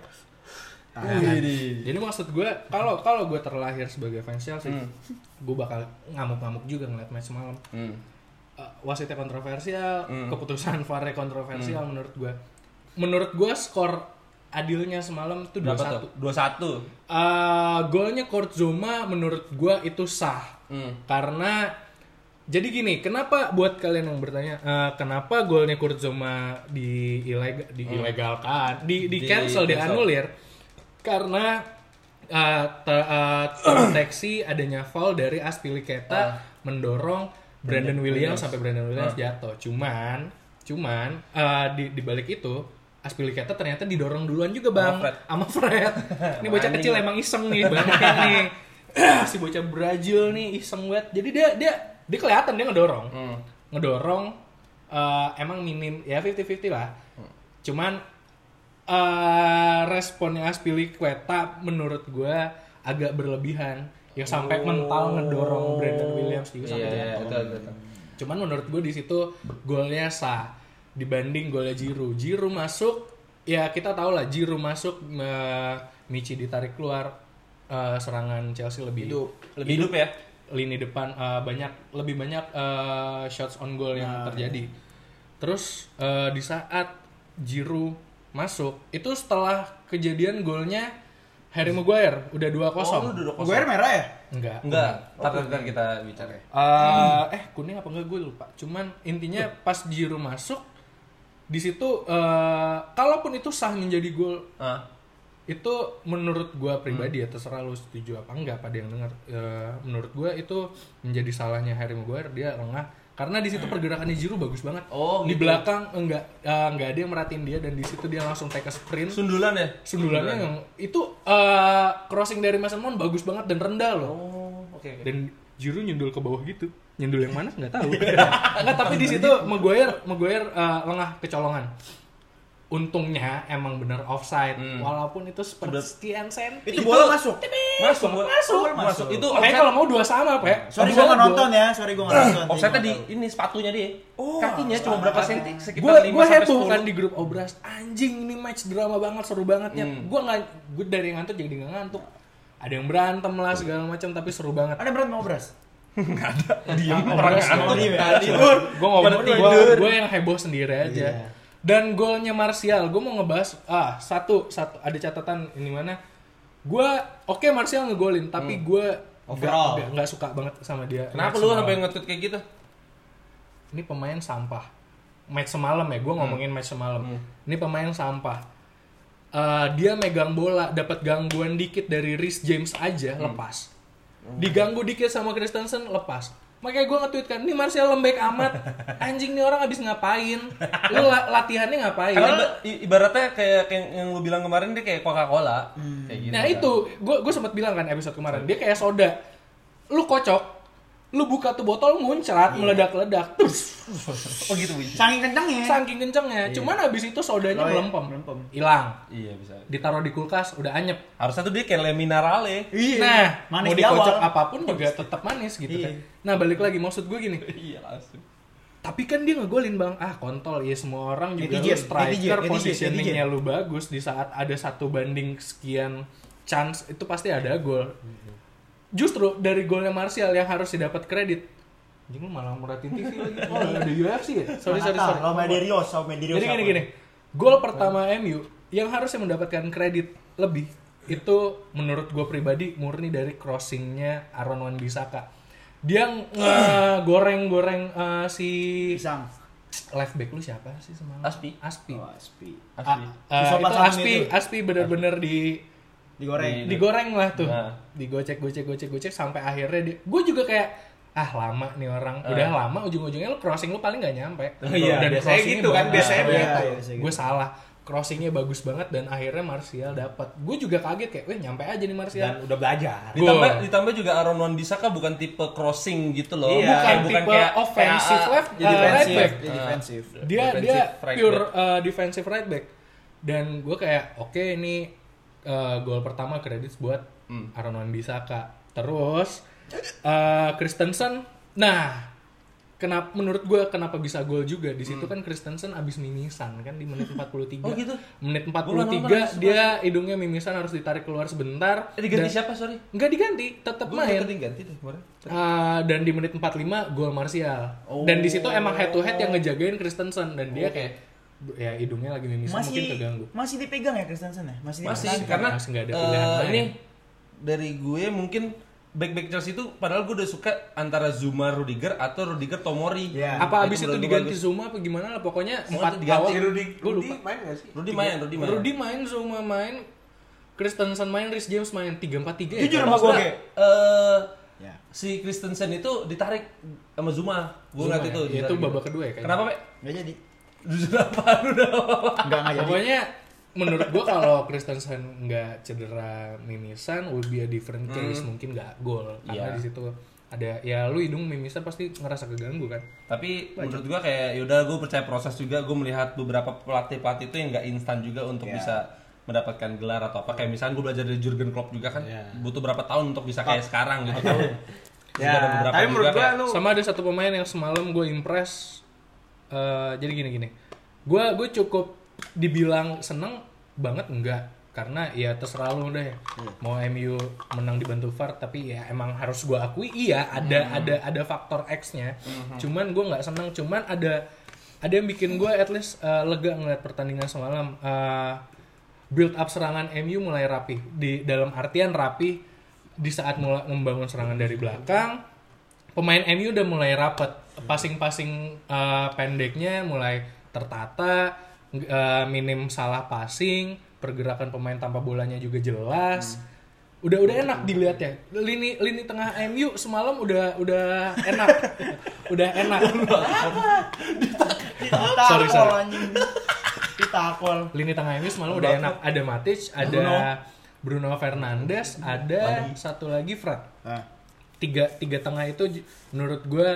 S2: Nah, kan.
S1: Wih,
S3: Iya. jadi maksud gue kalau kalau gue terlahir sebagai fans Chelsea
S2: Hmm.
S3: gue bakal ngamuk-ngamuk juga ngeliat match malam
S1: Hmm.
S3: Eh, wasitnya kontroversial
S2: Hmm.
S3: keputusan VAR-nya kontroversial menurut gue menurut gue skor adilnya semalam itu dua
S1: Berapa
S3: satu Eh,
S1: tuh? 21.
S3: golnya Kortzoma menurut gue itu sah
S1: Hmm.
S3: Karena jadi gini, kenapa buat kalian yang bertanya eh, kenapa golnya Kurzoma Hmm. di ilegal diilegalkan, di di, cancel, dianulir? Karena eh, ter- eh, terdeteksi adanya foul dari Aspiliketa mendorong Ah. Brandon Williams, Ah. sampai Brandon Williams jatuh. Cuman, cuman eh, di di balik itu Aspiliketa ternyata didorong duluan juga bang, sama Fred. Ini bocah kecil emang iseng nih, banyak nih. si bocah Brazil nih iseng banget. Jadi dia dia dia kelihatan dia ngedorong,
S1: Hmm.
S3: ngedorong. eh, emang minim ya 50-50 lah.
S1: Hmm.
S3: Cuman eh responnya Aspilicueta menurut gue agak berlebihan yang sampai mental ngedorong Brandon Williams juga sampai
S1: Iya,
S3: jatuh.
S1: betul, betul.
S3: Cuman menurut gue di situ golnya sah dibanding golnya Jiru. Jiru masuk, ya kita tahu lah Jiru masuk, eh, Michi ditarik keluar, eh, serangan Chelsea lebih
S1: Lebih hidup ya.
S3: lini depan eh, banyak lebih banyak eh, shots on goal
S1: Nah.
S3: yang terjadi. Terus eh, di saat Jiru masuk itu setelah kejadian golnya Harry Maguire udah 2-0.
S1: Oh,
S2: Gue air merah ya?
S3: Enggak.
S1: Enggak, ntar ntar kita bicara.
S3: Eh, eh kuning apa enggak gue lupa. Cuman intinya pas Jiru masuk di situ eh, kalaupun itu sah menjadi gol
S1: Ah,
S3: itu menurut gua pribadi ya terserah lu setuju apa enggak pada yang dengar Eh, menurut gua itu menjadi salahnya Harry Maguire dia lengah karena di situ pergerakannya Jiru bagus banget
S1: Oh,
S3: di belakang enggak eh, enggak ada yang merhatiin dia dan di situ dia langsung take a sprint
S1: sundulan ya?
S3: sundulannya yang itu eh, crossing dari Mason Mount bagus banget dan rendah loh
S1: Oh, oke. oke.
S3: dan Jiru nyundul ke bawah gitu nyundul yang mana nggak tahu nggak tapi di situ Maguire Maguire eh, lengah kecolongan untungnya emang bener offside
S1: Hmm.
S3: walaupun itu sepersekian senti
S2: Itu bola masuk.
S1: Masuk, Oh, bola-
S3: masuk.
S1: bola masuk. Itu
S3: makanya kalau mau dua sama pak
S2: Sorry gue nggak nonton ya, sorry gue nggak nonton.
S1: offside di ini sepatunya dia. Kakinya cuma berapa senti?
S3: gue
S1: Sekitar 5
S3: gue
S1: sampai
S3: heboh
S1: 10.
S3: kan di grup obras anjing ini match drama banget seru banget ya
S1: Hmm.
S3: gue nggak gue dari yang ngantuk jadi nggak ngantuk ada yang berantem lah segala macam tapi seru banget
S2: Ada berat mau beras? Iya.
S1: Diem, orang
S3: Obras,
S1: ngantuk.
S3: ya.
S1: Tidur.
S3: gue mau
S1: Pada
S3: gua,
S1: tidur.
S3: gua yang heboh sendiri aja
S1: Iya.
S3: dan golnya Martial gue mau ngebahas ah satu satu ada catatan ini mana gue oke Martial ngegolin tapi gue
S4: Overall.
S3: nggak nggak suka banget sama dia
S1: Hmm. Kenapa
S3: Match
S1: lu
S3: semalam.
S1: sampai nge-tweet kayak gitu?
S3: ini pemain sampah match semalam ya gue ngomongin match semalam ini pemain sampah Eh, dia megang bola dapat gangguan dikit dari Rhys James aja lepas diganggu dikit sama Kristensen lepas makanya gue nge-tweet kan ini Martial lembek amat anjing nih orang abis ngapain lu la- latihannya ngapain
S1: Karena iba- i- ibaratnya kayak, kayak yang lu bilang kemarin dia kayak Coca-Cola. Kayak gitu.
S3: Nah itu, gue gue sempat bilang kan episode kemarin, dia kayak soda. Lu kocok, lu buka tuh botol muncrat, meledak-ledak. Terus,
S1: Oh gitu, Bu.
S2: Saking kencengnya.
S3: saking kencengnya. Cuman abis itu sodanya
S2: Loe,
S3: melempem.
S2: Iya. Oh, melempem.
S3: Hilang.
S1: Iya, bisa.
S3: Ditaruh di kulkas, udah anyep.
S1: Harusnya tuh dia kayak leminarale.
S2: Iya.
S3: Nah, mau
S2: Manis di
S3: dikocok
S2: awal. Iya.
S3: apapun juga tetap manis gitu kan. Nah, balik lagi maksud gue gini.
S1: Iya, langsung.
S3: Tapi kan dia ngegolin bang, ah kontol ya semua orang juga
S2: Netizen,
S3: lu striker
S2: netizen, netizen,
S3: positioningnya lu bagus di saat ada satu banding sekian chance itu pasti ada gol.
S2: Mm-hmm.
S3: Justru dari golnya Martial yang harus didapat kredit, anjing lu malah muratin TV lagi, oh nggak ada UFC ya? Sorry sorry sorry.
S2: Sama Derios, sama Derios.
S3: Jadi gini gini, gol pertama MU yang harusnya mendapatkan kredit lebih itu menurut gue pribadi murni dari crossingnya Aaron Wan Bisaka. Dia goreng-goreng si
S2: Pisang.
S3: left back lu siapa sih semalam?
S1: Aspi.
S3: Aspi.
S2: Oh, Aspi.
S1: Asli.
S3: Ah,
S2: Sopan
S3: itu
S2: santun
S3: Aspi,
S2: itu.
S3: Aspi bener-bener di
S2: Digoreng.
S3: digoreng lah tuh.
S1: Nah.
S3: Digocek, gocek, gocek, gocek sampai akhirnya di- gue juga kayak ah lama nih orang. Udah lama ujung-ujungnya lu crossing lu paling gak nyampe.
S4: Nah. Iya, biasanya
S3: crossingnya
S4: gitu kan,
S3: bagus.
S4: biasanya
S3: Iya,
S2: begitu.
S3: iya,
S2: biasanya
S3: Gue salah. Crossingnya bagus banget dan akhirnya Martial dapat. Gue juga kaget kayak, weh nyampe aja nih Martial.
S4: Dan udah belajar.
S1: Ditambah,
S3: Gol.
S1: ditambah juga Aaron Wan Bisaka bukan tipe crossing gitu loh.
S4: Iya.
S1: bukan,
S3: Bukan
S1: bukan
S3: tipe
S1: kayak
S3: offensive
S1: PAA.
S4: eh,
S3: left,
S1: jadi
S3: uh,
S1: defensive.
S3: right back.
S2: Ah, Jadi defensif.
S3: dia dia
S1: Defensive right
S3: pure uh, defensive right back dan gue kayak oke ini uh, gol pertama kredit buat
S1: Hmm.
S3: Aaron Wan Bisaka terus uh, Christensen nah kenapa menurut gue kenapa bisa gol juga di situ
S1: Hmm.
S3: kan Christensen abis mimisan kan di menit 43
S1: Oh, gitu?
S3: menit
S1: Gua nggak nonton,
S3: 43 dia hidungnya mimisan harus ditarik keluar sebentar
S1: Eh, diganti
S3: dan-
S1: siapa, sorry?
S3: nggak diganti tetap
S1: Gue
S3: main
S1: ganti deh kemarin.
S3: Uh, dan di menit 45 gol Martial. Dan di situ emang head to head yang ngejagain Kristensen dan dia kayak ya hidungnya lagi mimisan mungkin
S2: Masih
S3: keganggu.
S2: masih dipegang ya Kristensen ya? Masih
S1: Masih,
S2: dipegang.
S1: karena
S3: masih nggak ada pilihan
S1: eh,
S3: lain.
S1: ini dari gue mungkin back-back Chelsea itu padahal gue udah suka antara Zuma Rudiger atau Rudiger Tomori.
S2: Iya.
S3: Apa
S1: Nah,
S3: abis itu
S1: menurut gue
S3: diganti
S1: bagus.
S3: Zuma apa gimana lah pokoknya
S1: Semua
S3: empat
S1: diganti.
S3: awal
S4: Si Rudy,
S3: Gua
S4: Rudy
S3: lupa.
S4: main gak sih?
S1: Rudi main, Rudi main.
S3: Rudy main Zuma main Kristensen main, Rhys James main 3-4-3 ya.
S2: Jujur
S3: kan?
S2: sama gue,
S1: Maksudnya,
S2: Ge.
S1: eh,
S2: Ya.
S1: si Kristensen itu ditarik sama Zuma. Gue
S3: Zuma
S1: ngeliat
S3: ya?
S1: itu.
S3: Ya, itu babak kedua ya kayaknya.
S1: Kenapa, Pak?
S2: Gak jadi.
S1: Jujur apa? Udah apa?
S2: Enggak enggak jadi.
S3: Ah, Pokoknya menurut gua kalau Kristensen nggak cedera mimisan would be a different case mungkin nggak gol karena
S1: Iya.
S3: di situ ada ya lu hidung mimisan pasti ngerasa keganggu kan.
S1: Tapi menurut gua kayak yaudah gue percaya proses juga. Gue melihat beberapa pelatih pelatih itu yang nggak instan juga untuk bisa mendapatkan gelar atau apa. Kayak misalnya gue belajar dari Jurgen Klopp juga kan butuh berapa tahun untuk bisa kayak sekarang gitu kan. Terus
S4: Ya,
S1: ada beberapa
S4: tapi
S1: juga
S4: menurut gua
S1: kayak-
S4: lu
S3: Sama ada satu pemain yang semalam gue impress. Eh, jadi gini gini, gue gue cukup dibilang seneng banget enggak karena ya terserah lu deh mau MU menang dibantu VAR tapi ya emang harus gue akui iya ada ada ada faktor X-nya cuman gue nggak seneng cuman ada ada yang bikin gue at least eh, lega ngeliat pertandingan semalam Eh, build up serangan MU mulai rapi di dalam artian rapi di saat mulai membangun serangan dari belakang pemain MU udah mulai rapat passing-passing uh, pendeknya mulai tertata ng- uh, minim salah passing pergerakan pemain tanpa bolanya juga jelas udah udah enak dilihat ya lini lini tengah MU semalam udah udah enak udah enak
S2: Ditakol
S3: Sorry, sorry.
S2: anjing. Ditakol.
S3: lini tengah MU semalam udah enak ada Matic ada Bruno Fernandes ada satu lagi Fred
S2: Nah,
S3: tiga tiga tengah itu j- menurut gue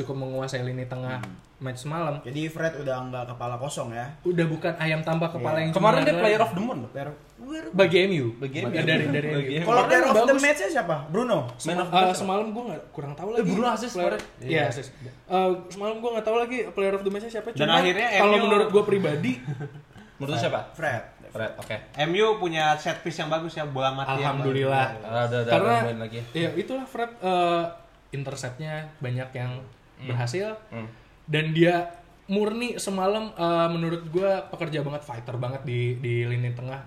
S3: cukup menguasai lini tengah match semalam
S2: jadi Fred udah enggak kepala kosong ya.
S3: udah bukan ayam tambah kepala yang
S1: Kemarin dia
S3: cuma
S1: player
S3: ada-
S1: of the month. loh.
S2: Player- Where-
S3: bagi MU
S1: Bagi MU.
S3: Bagi- dari dari
S1: Bagi
S3: MU.
S1: MU.
S2: Kalau
S3: Kemarin
S2: player of the
S3: bagus.
S2: match siapa? Bruno.
S1: Man of the
S3: Eh,
S1: match.
S3: semalam gue nggak kurang tahu lagi
S1: Eh, Bruno assist
S3: Player-
S1: kemarin.
S3: iya assist. Eh, semalam gue nggak tahu lagi player of the match siapa
S4: Dan
S3: Cuman
S4: akhirnya
S3: kalau
S4: MU
S3: menurut gue pribadi
S1: Menurut lu siapa?
S2: Fred.
S1: Fred, oke.
S4: MU punya set piece yang bagus ya bola mati. yang bagus.
S3: alhamdulillah
S1: Ah, udah, udah,
S3: Iya. karena
S1: tambahin lagi.
S3: ya itulah Fred eh, interceptnya banyak yang berhasil
S1: Hmm.
S3: dan dia murni semalam eh, menurut gue pekerja banget fighter banget di di lini tengah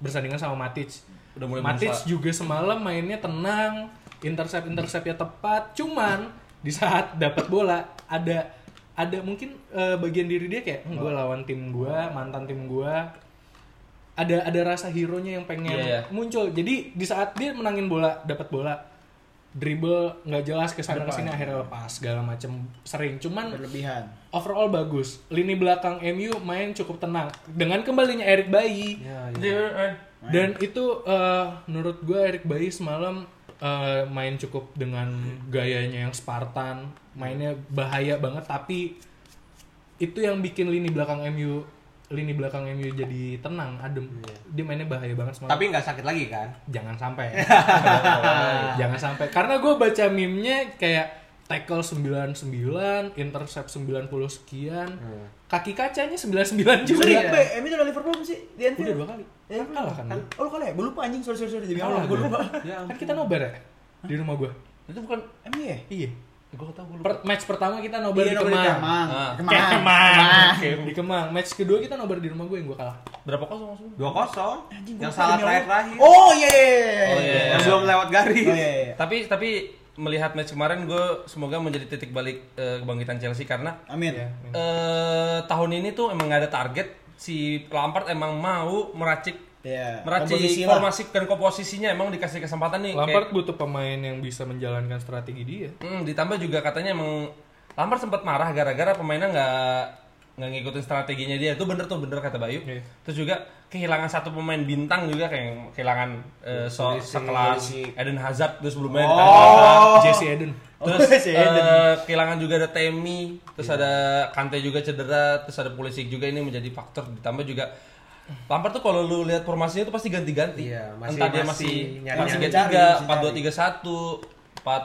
S3: bersandingan sama Matic
S1: Udah mulai
S3: Matic
S1: berusaha.
S3: juga semalam mainnya tenang intercept interceptnya tepat cuman di saat dapat bola ada ada mungkin eh, bagian diri dia kayak gue lawan tim gue mantan tim gue ada ada rasa hero nya yang
S1: Iya,
S3: pengen
S1: iya.
S3: muncul. Jadi di saat dia menangin bola, dapat bola, dribble nggak jelas ke sana ke sini akhirnya lepas segala macem sering. Cuman
S2: Berlebihan.
S3: overall bagus. Lini belakang MU main cukup tenang dengan kembalinya Erik Bayi. Dan itu eh, menurut gue Erik Bayi semalam eh, main cukup dengan gayanya yang Spartan, mainnya bahaya banget tapi itu yang bikin lini belakang MU lini belakang MU jadi tenang, adem. Dia mainnya bahaya banget semalam.
S4: Tapi nggak sakit lagi kan?
S3: jangan sampai. jangan sampai karena gue baca meme-nya kayak tackle 99, intercept 90 sekian, kaki kacanya 99 juga.
S2: Sorry, Be, Emi ya? udah Liverpool belum sih? Di
S3: Udah
S2: Anfield.
S3: dua kali.
S2: Ya,
S3: Kalah Iya. kan.
S2: Oh lu kalah ya? Gue lupa anjing, sorry sorry sorry jadi
S3: Kalah
S2: kalah. Gue
S3: gua.
S2: lupa.
S3: Kan kita nobar ya di rumah gua.
S1: Itu bukan
S2: Emi ya?
S3: Iya.
S1: gue tau gue
S3: Per- match pertama kita nobar
S2: Iya,
S3: di
S2: nomor di
S3: Kemang.
S2: Kemang.
S1: Ah.
S2: Kemang.
S3: Di Kemang. Match kedua kita nobar di rumah gue yang gue kalah.
S1: berapa kosong langsung?
S4: Dua kosong.
S2: Anjing, gua
S4: Yang
S2: lupa
S4: salah
S2: demi
S4: terakhir
S2: Allah.
S4: terakhir.
S2: Oh iya iya iya.
S1: Oh, iya, iya.
S4: Yang belum lewat garis.
S2: Oh iya iya.
S1: Tapi tapi melihat match kemarin gue semoga menjadi titik balik eh, kebangkitan Chelsea karena
S2: Amin.
S3: Iya.
S1: eh, tahun ini tuh emang nggak ada target si Lampard emang mau meracik
S2: Iya.
S1: meracik
S2: Komposisi lah.
S1: formasi dan komposisinya emang dikasih kesempatan nih kayak-
S3: Lampard butuh pemain yang bisa menjalankan strategi dia.
S1: Hmm, ditambah juga katanya emang Lampard sempat marah gara-gara pemainnya nggak nggak ngikutin strateginya dia. Itu bener tuh bener kata Bayu.
S3: Iya.
S1: Terus juga kehilangan satu pemain bintang juga kayak yang kehilangan eh, so, sekelas Eden Hazard terus sebelumnya ditarik
S4: Oh,
S1: Lampard.
S3: Jesse Eden.
S1: Terus
S2: Oh, si Eden.
S1: eh, kehilangan juga ada Temi, terus ada Kante juga cedera, terus ada Pulisic juga ini menjadi faktor ditambah juga Lampard tuh kalau lu lihat formasinya tuh pasti ganti-ganti.
S4: Iya, masih-
S1: Entah dia
S4: masih
S1: masih
S4: nyari-
S1: masih
S2: nyari.
S1: tiga
S2: Mencari,
S1: tiga,
S2: masih
S1: empat dua
S2: cari.
S1: tiga satu, empat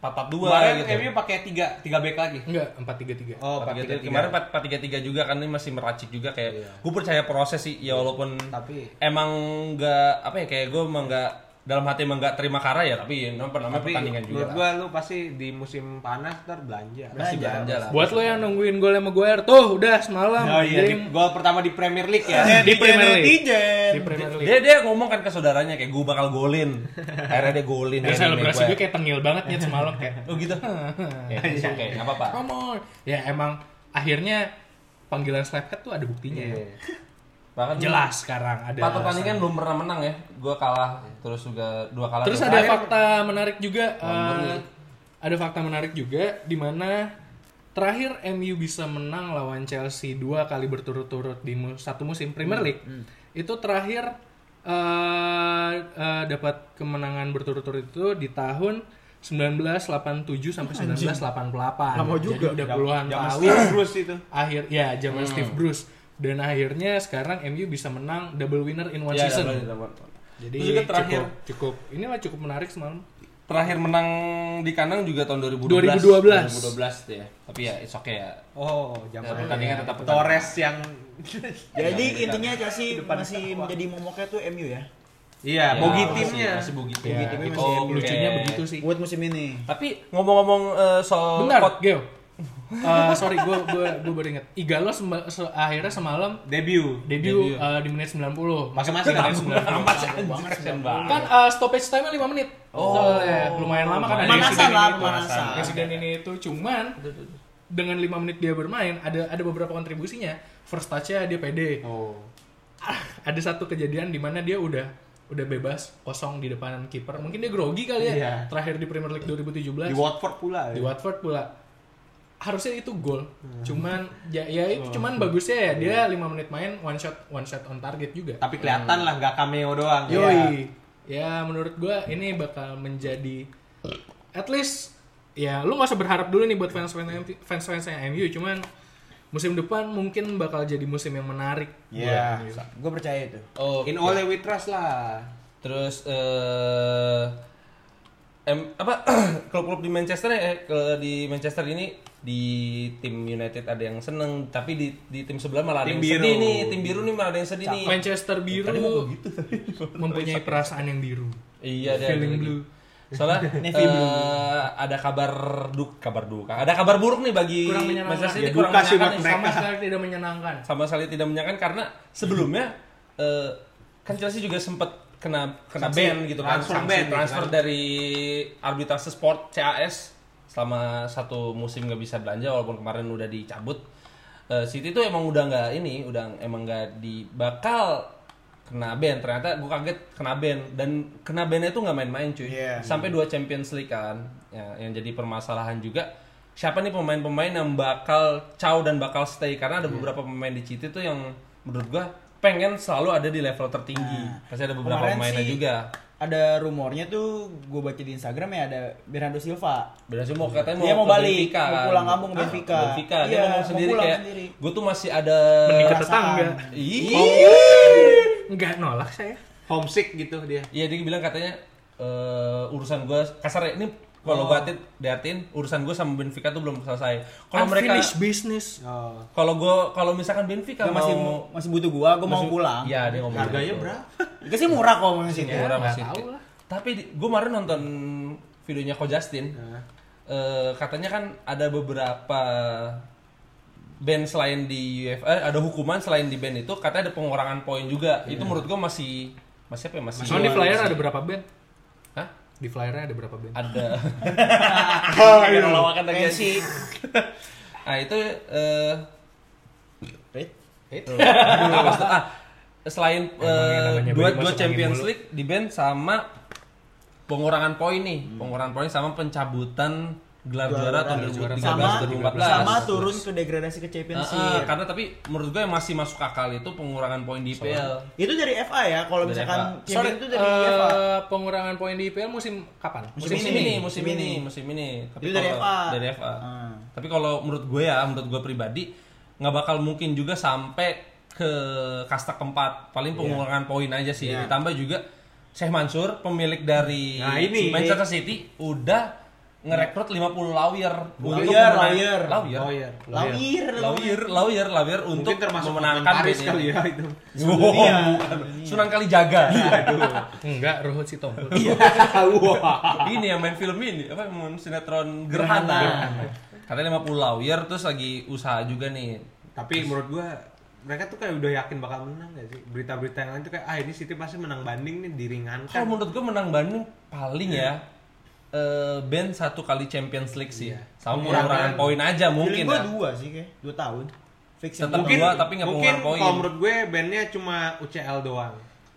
S1: empat empat dua
S4: Kemarin
S1: gitu.
S4: MU pakai tiga tiga back lagi.
S3: Enggak, 4-3-3.
S4: Oh,
S1: Empat
S4: pakai
S1: tiga-
S4: tiga.
S1: kemarin empat empat tiga tiga juga kan ini masih meracik juga kayak gue percaya proses sih ya walaupun
S4: Tapi-
S1: emang nggak apa ya kayak gue emang nggak dalam hati emang nggak terima kara ya tapi ya, nampak namanya
S4: Tapi
S1: pertandingan juga
S4: menurut
S1: lah.
S4: gua lu pasti di musim panas ntar belanja.
S1: pasti belanja lah
S3: Buat lo yang nungguin gol sama Maguire tuh udah semalam.
S4: Oh iya,
S3: Game
S4: di- gol pertama di Premier League
S3: Eh,
S4: ya.
S3: di Premier League. Iya,
S2: Netizen.
S3: di Premier League.
S1: dia dia ngomong kan ke saudaranya kayak gue bakal golin akhirnya dia golin
S3: Dan
S1: Harry
S3: selebrasi gue
S1: Maguire.
S3: kayak tengil banget ya semalam kayak.
S1: oh gitu ya,
S3: Iya.
S1: oke nggak apa-apa
S3: Come on. Ya emang akhirnya panggilan Slaphead tuh ada buktinya.
S4: Iya.
S1: Bahkan
S3: Jelas sekarang ada.
S1: empat pertandingan belum pernah menang ya. Gua kalah terus juga dua kalah.
S3: Terus
S1: dua
S3: ada
S1: kalah.
S3: fakta menarik juga. eh, ada fakta menarik juga di mana terakhir MU bisa menang lawan Chelsea dua kali berturut-turut di mu- satu musim
S2: Hmm,
S3: Premier League. Itu terakhir eh, eh, dapat kemenangan berturut-turut itu di tahun 1987 sampai 1988.
S2: Lama
S3: Jadi
S2: juga.
S3: udah puluhan
S4: Zaman
S3: tahun
S4: Steve Bruce itu.
S3: akhir ya zaman
S1: Hmm.
S3: Steve Bruce dan akhirnya sekarang MU bisa menang double winner in one
S1: Iya,
S3: season.
S1: double winner, double winner.
S3: Jadi
S1: Terus juga terakhir
S3: cukup, cukup inilah cukup menarik semalam.
S1: terakhir menang di kandang juga tahun 2012.
S3: 2012.
S1: 2012 tuh ya. Tapi ya it's okay ya.
S4: Oh, zaman
S1: Ya, pertandingan tetap
S4: Torres yang
S2: Jadi intinya Chelsea masih menjadi momoknya tuh MU ya.
S4: Iya,
S1: Ya,
S4: bogi
S1: masih-
S4: timnya.
S1: masih bogi tim. Iya,
S3: Ya,
S2: timnya
S3: itu
S2: masih MU.
S3: lucunya
S1: Oke.
S3: begitu sih.
S2: Buat musim ini.
S1: Tapi ngomong-ngomong eh, soal
S3: Bentar,
S1: kot-
S3: Geo. Eh, sorry, gue gue gue baru inget. Igalo semba- se- akhirnya semalam
S4: Debut.
S3: debut eh, di menit 90.
S4: Masing-masing ada 90.
S1: Amat anjir, banget.
S3: Kan eh, stoppage time-nya 5 menit.
S1: Oh.
S3: Soalnya lumayan lama kan ada
S2: Pemanasan
S3: insiden
S2: lah,
S3: ini itu.
S2: pemanasan.
S3: Insiden ini itu cuman dengan 5 menit dia bermain ada ada beberapa kontribusinya. First touch-nya dia pede.
S4: Oh.
S3: Ah, ada satu kejadian di mana dia udah udah bebas kosong di depan kiper. Mungkin dia grogi kali ya.
S4: Iya.
S3: Terakhir di Premier League 2017.
S4: Di Watford pula.
S3: di
S4: ya.
S3: Watford pula harusnya itu gol
S4: Hmm.
S3: cuman ya, ya itu
S4: Oh,
S3: cuman bagusnya ya dia lima menit main one shot one shot on target juga
S4: Iya. Tapi kelihatan lah nggak cameo doang.
S3: yoi ya menurut gua ini bakal menjadi at least ya lu nggak usah berharap dulu nih buat fans fans fansnya MU cuman musim depan mungkin bakal jadi musim yang menarik
S4: Iya.
S3: buat MU.
S2: Gue percaya itu.
S1: Oh,
S4: In Ole we trust lah.
S1: Terus eh em, apa klub-klub di Manchester ya eh, kalau di Manchester ini di tim United ada yang seneng tapi di di tim sebelah malah ada
S4: Tim
S1: yang
S4: biru.
S1: sedih nih tim biru nih malah ada yang sedih nih
S3: Manchester biru mempunyai gitu, perasaan yang biru
S1: iya ada
S3: feeling
S1: ada lagi.
S3: blue.
S1: soalnya
S2: Navy blue.
S1: eh, ada kabar duk kabar duka ada kabar buruk nih bagi
S3: kurang
S1: Manchester
S3: menyenangkan
S1: City
S4: Ya,
S1: kurang
S4: duka sih
S1: menyenangkan
S4: buat
S1: nih.
S4: mereka.
S3: sama sekali tidak menyenangkan
S1: sama sekali tidak menyenangkan karena sebelumnya eh, kan Chelsea juga sempat kena kena
S4: Sanksi.
S1: ban gitu kan
S4: Transfer
S1: sanksi
S4: ban, gitu
S1: transfer
S2: Iya.
S4: kan.
S1: dari arbitrase sport CAS selama satu musim nggak bisa belanja walaupun kemarin udah dicabut Eh, City tuh emang udah nggak ini udah emang nggak di bakal kena ban ternyata gue kaget kena ban dan kena bannya tuh nggak main-main cuy
S2: Iya.
S1: sampai dua Champions League kan ya, yang jadi permasalahan juga siapa nih pemain-pemain yang bakal caw dan bakal stay karena
S2: Iya.
S1: ada beberapa pemain di City tuh yang menurut gua pengen selalu ada di level tertinggi pasti ada beberapa
S2: Nah, Kemarin
S1: pemainnya
S2: sih
S1: juga
S2: Ada rumornya tuh gue baca di Instagram ya ada Bernardo Silva.
S1: Beda sih mau katanya mau,
S2: Dia mau
S1: ke
S2: balik,
S1: Benfica
S2: mau
S1: kan.
S2: pulang kampung ke
S1: Ah,
S2: Benfica.
S1: Benfica. Dia
S2: Iya,
S1: ngomong
S2: mau
S1: sendiri
S2: pulang
S1: kayak
S2: sendiri.
S1: gue tuh masih ada
S3: menikah
S2: Perasaan.
S3: tetangga
S1: Ih.
S3: nggak nolak saya
S4: Homesick gitu dia.
S1: Iya dia bilang katanya eh, urusan gue kasar ya, ini kalau
S2: Oh.
S1: gue atin, diatin urusan gue sama Benfica tuh belum selesai. Kalau mereka
S3: Unfinished business
S4: Oh.
S1: kalau gue kalau misalkan Benfica
S2: Dia
S1: mau
S2: masih masih butuh gue, gue mau pulang.
S1: Iya dia ngomong
S4: Harganya
S1: gitu.
S4: berapa?
S2: Itu sih murah kok masih itu.
S1: Ya, orang
S3: Iya, nggak
S1: masih.
S3: tahu lah.
S1: Tapi gue kemarin nonton videonya Ko Justin.
S3: Iya.
S1: Eh, katanya kan ada beberapa band selain di UEFA eh, ada hukuman selain di band itu katanya ada pengurangan poin juga.
S3: Iya.
S1: Itu menurut gue masih masih apa ya? Masih.
S3: Soalnya di flyer ada berapa band?
S1: Hah?
S3: Di flyernya ada berapa band?
S1: Ada.
S2: Kayak
S3: Iya.
S2: lawakan lagi
S1: Kayak
S2: sih.
S1: nah, itu eh
S2: Rit.
S1: apa maksud- ah, selain eh,
S3: namanya
S1: dua
S3: baru
S1: dua
S3: masuk
S1: Champions
S3: angin
S1: League di band sama pengurangan poin nih, pengurangan poin sama pencabutan gelar juara tahun
S2: Sama
S1: 2013
S2: sama
S1: 2014.
S2: turun ke degradasi ke
S1: Heeh, kan-
S2: Championship.
S1: Ah, karena tapi menurut gue yang masih masuk akal itu pengurangan poin di IPL.
S2: Itu dari FA ya, kalau
S1: Dari
S2: misalkan
S1: FA.
S2: champion itu dari
S3: eh,
S2: FA.
S3: pengurangan poin di IPL musim kapan?
S1: Musim,
S2: Musim
S1: ini,
S2: ini,
S1: musim
S2: musim
S1: ini,
S2: ini.
S1: musim ini. Tapi
S2: Itu dari
S1: kalau-
S2: FA.
S1: Dari FA.
S2: Ah.
S1: Tapi kalau menurut gue ya, menurut gue pribadi nggak bakal mungkin juga sampai ke kasta keempat. Paling pengurangan poin aja sih.
S2: Iya.
S1: Ditambah juga Syekh Mansur, pemilik dari
S4: Nah, ini.
S1: Manchester City udah ngerekrut 50 lawyer
S2: Lawyer,
S1: memena-
S2: lawyer.
S1: lawyer.
S4: Oh iya.
S2: Lawyer.
S1: Lawyer, lawyer, lawyer untuk
S4: Mungkin termasuk
S1: memenangkan
S4: komentaris
S1: band
S4: kali
S1: ini.
S4: ya itu.
S1: Wow,
S2: Iya.
S1: bukan. Sunan Kalijaga.
S3: Enggak, Ruhut Sitompul.
S4: Wah.
S1: ini yang main film ini apa yang main sinetron gerhana katanya 50 lawyer terus lagi usaha juga nih
S4: Tapi menurut gua mereka tuh kayak udah yakin bakal menang gak sih? Berita-berita yang lain tuh kayak ah ini City pasti menang banding nih diringankan.
S1: kalau menurut gue menang Bandung paling ya eh band
S2: Iya.
S1: satu kali Champions League sih sama kurang-kurangan poin aja
S2: Mungkin
S1: mungkin
S2: gue
S1: ya
S2: dua sih kayak dua tahun. Fix
S1: Tetap dua tapi nggak
S4: mungkin
S1: pengeluar
S4: kalau
S1: poin.
S4: menurut gue bandnya cuma UCL doang.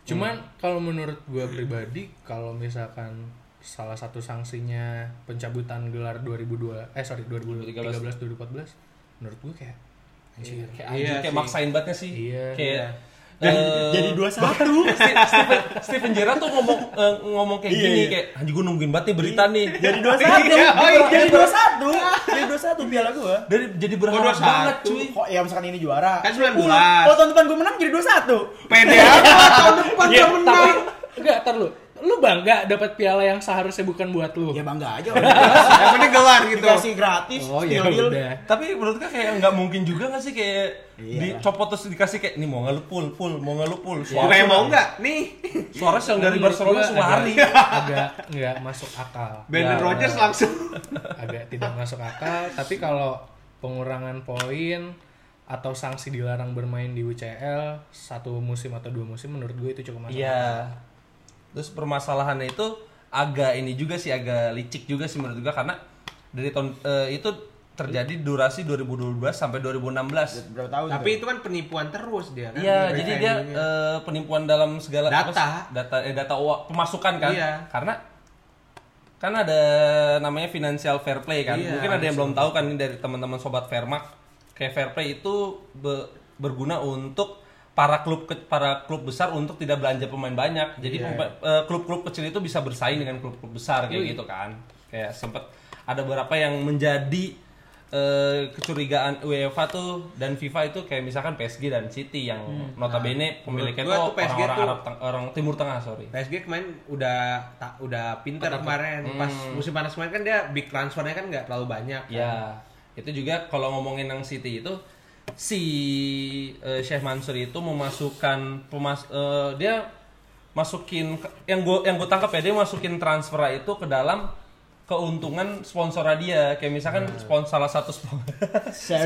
S3: Cuman kalau menurut gue pribadi kalau misalkan salah satu sanksinya pencabutan gelar 2002 eh sorry 2013 2014 menurut gue kayak anjir.
S1: Kayak
S4: Iya
S1: anjing, kayak
S4: sih.
S1: maksain bangetnya sih.
S3: Iya.
S1: Kayak
S2: Dan
S1: eh,
S2: jadi dua satu.
S1: Ste- Steven, Steven Gerrard tuh ngomong eh, ngomong kayak
S2: Iya,
S1: gini
S2: iya.
S1: kayak anjing gue nungguin banget nih berita nih.
S2: Jadi dua satu.
S1: Iya, oh iya.
S2: Jadi dua satu. Jadi dua satu piala gua.
S1: Dari jadi berharap
S4: Oh, dua satu.
S1: banget cuy.
S2: Kok ya misalkan ini juara.
S4: Kan 19.
S2: Sepuluh. Oh tahun depan gua menang jadi dua satu.
S4: Pede apa tahun depan
S3: Iya,
S4: udah
S3: tapi
S4: menang.
S3: enggak tar lu. Lu bangga dapat piala yang seharusnya bukan buat lu.
S2: Ya bangga aja. orang
S4: Yang penting gelar Iya, gitu.
S2: Dikasih gratis.
S3: Oh ya
S2: steal deal.
S3: udah.
S1: Eh, Tapi menurut kak kayak nggak mungkin juga nggak sih kayak
S2: Iya.
S1: dicopot terus dikasih kayak ini mau nggak lu full full mau nggak lu full.
S4: Bukan yang mau nggak? Nih,
S1: Suarez yang dari
S3: Menurut
S1: Barcelona
S3: Iya, gua Iya.
S1: Suari.
S3: agak- Agak nggak masuk akal.
S4: Brandon
S1: Ya.
S4: Rodgers langsung.
S3: Agak tidak masuk akal. Tapi kalau pengurangan poin atau sanksi dilarang bermain di UCL satu musim atau dua musim menurut gue itu cukup masuk akal.
S1: Iya. Terus permasalahannya itu agak ini juga sih agak licik juga sih menurut gua karena dari tahun eh, itu terjadi durasi 2012 sampai 2016.
S2: Berapa tahun?
S4: Tapi itu kan penipuan terus dia kan.
S1: Iya,
S4: Mereka
S1: jadi dia
S4: ini-
S1: eh, penimpuan dalam segala apa
S4: Data.
S1: sih? data eh, data uang- pemasukan kan?
S4: Iya.
S1: Karena kan ada namanya financial fair play kan.
S4: Iya,
S1: Mungkin ada yang belum tahu kan ini dari teman-teman sobat Fairmark. Kayak fair play itu be- berguna untuk para klub ke- para klub besar untuk tidak belanja pemain banyak. Jadi
S4: Iya.
S1: pemba- eh, klub-klub kecil itu bisa bersaing dengan klub-klub besar
S4: Iya.
S1: kayak gitu kan. Kayak sempat ada beberapa yang menjadi eh, kecurigaan UEFA tuh dan FIFA itu kayak misalkan PSG dan City yang notabene pemiliknya
S4: Hmm. Nah, menurut gua
S1: tuh
S4: tuh PSG
S1: orang-orang
S4: tuh-
S1: Arab Teng- orang Timur Tengah sorry.
S4: PSG kemarin udah ta- udah pinter kemarin pas musim panas kemarin kan dia big transfernya kan nggak terlalu banyak. kan.
S1: Ya, itu juga kalau ngomongin yang City itu si eh, Syekh Mansur itu memasukkan pemas eh, dia masukin ke- yang gue yang gue tangkap ya dia masukin transfer itu ke dalam keuntungan sponsor dia kayak misalkan sponsor salah satu sponsor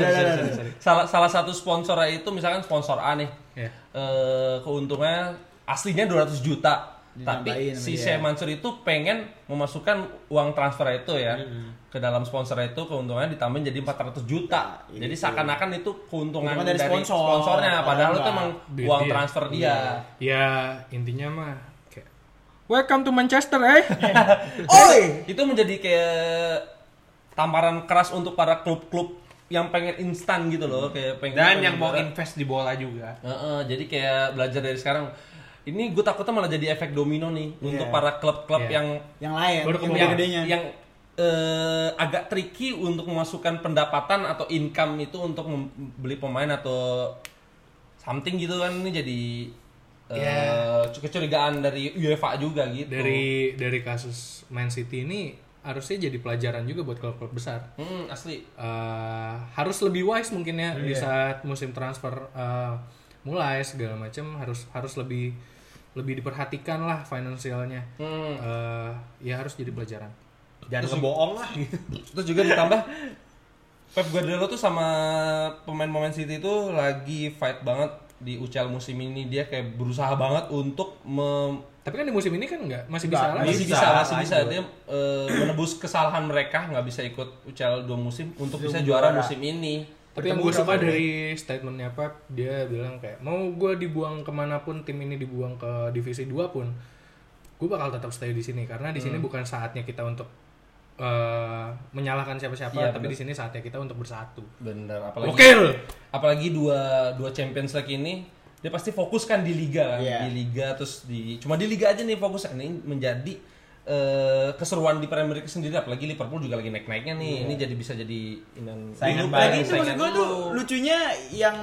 S1: salah salah satu sponsor itu misalkan sponsor A nih
S3: Iya.
S1: Eh, keuntungannya aslinya 200 juta tapi
S2: Ditambahin sama
S1: si
S2: dia.
S1: Syekh Mansur itu pengen memasukkan uang transfer itu ya ke dalam sponsor itu keuntungannya ditambahin jadi 400 juta jadi seakan-akan itu keuntungan
S2: Keuntungan
S1: dari,
S2: dari sponsor.
S1: sponsornya padahal
S2: Padahal
S1: itu emang
S3: Duit
S1: uang
S3: dia.
S1: transfer dia
S3: Ya intinya mah kayak Welcome to Manchester eh.
S2: Oi.
S1: itu menjadi kayak tamparan keras untuk para klub-klub yang pengen instan gitu loh kayak pengen
S4: Dan
S1: pengen
S4: yang mau
S1: juara.
S4: invest di bola juga.
S1: Heeh, jadi kayak belajar dari sekarang. Ini gue takutnya malah jadi efek domino nih untuk para klub-klub
S3: Iya.
S1: yang
S2: Yang lain.
S3: Baru
S2: Yang
S3: kemudian.
S1: yang,
S2: gede-gedenya.
S1: yang, eh, agak tricky untuk memasukkan pendapatan atau income itu untuk membeli pemain atau something gitu kan ini jadi eh,
S3: Iya.
S1: kecurigaan dari UEFA juga gitu.
S3: dari dari kasus Man City ini harusnya jadi pelajaran juga buat klub-klub besar.
S1: Mm, asli.
S3: Eh, harus lebih wise mungkin ya di saat musim transfer eh, mulai segala macam harus harus lebih lebih diperhatikan lah finansialnya. Eh, ya harus jadi pelajaran.
S4: Jangan ngebohong lah gitu.
S1: Terus juga ditambah Pep Guardiola tuh sama pemain-pemain City itu lagi fight banget di UCL musim ini dia kayak berusaha banget untuk mem-
S3: Tapi kan di musim ini kan nggak masih
S2: Nggak,
S3: bisa lah.
S1: masih
S2: Bisa,
S1: bisa, masih bisa dia eh, menebus kesalahan mereka nggak bisa ikut UCL dua musim untuk bisa juara musim ini.
S3: Tapi yang gue suka dari statementnya Pep, dia bilang kayak mau gue dibuang kemanapun tim ini dibuang ke divisi 2 pun, gue bakal tetap stay di sini karena di sini bukan saatnya kita untuk eh, menyalahkan
S1: Iya,
S3: siapa-siapa, tapi di sini saatnya kita untuk bersatu.
S1: Bener apalagi
S3: Oke,
S1: apalagi dua dua Champions League ini dia pasti fokus kan di liga kan
S2: Iya.
S1: di liga terus di cuma di liga aja nih fokus ini menjadi eh, keseruan di Premier League sendiri apalagi Liverpool juga lagi naik-naiknya nih ini jadi bisa jadi inan
S2: Iya. Saingan
S1: Lupa lagi
S2: baru. Lagi itu maksud
S1: saingan
S2: gue tuh
S1: dulu.
S2: lucunya yang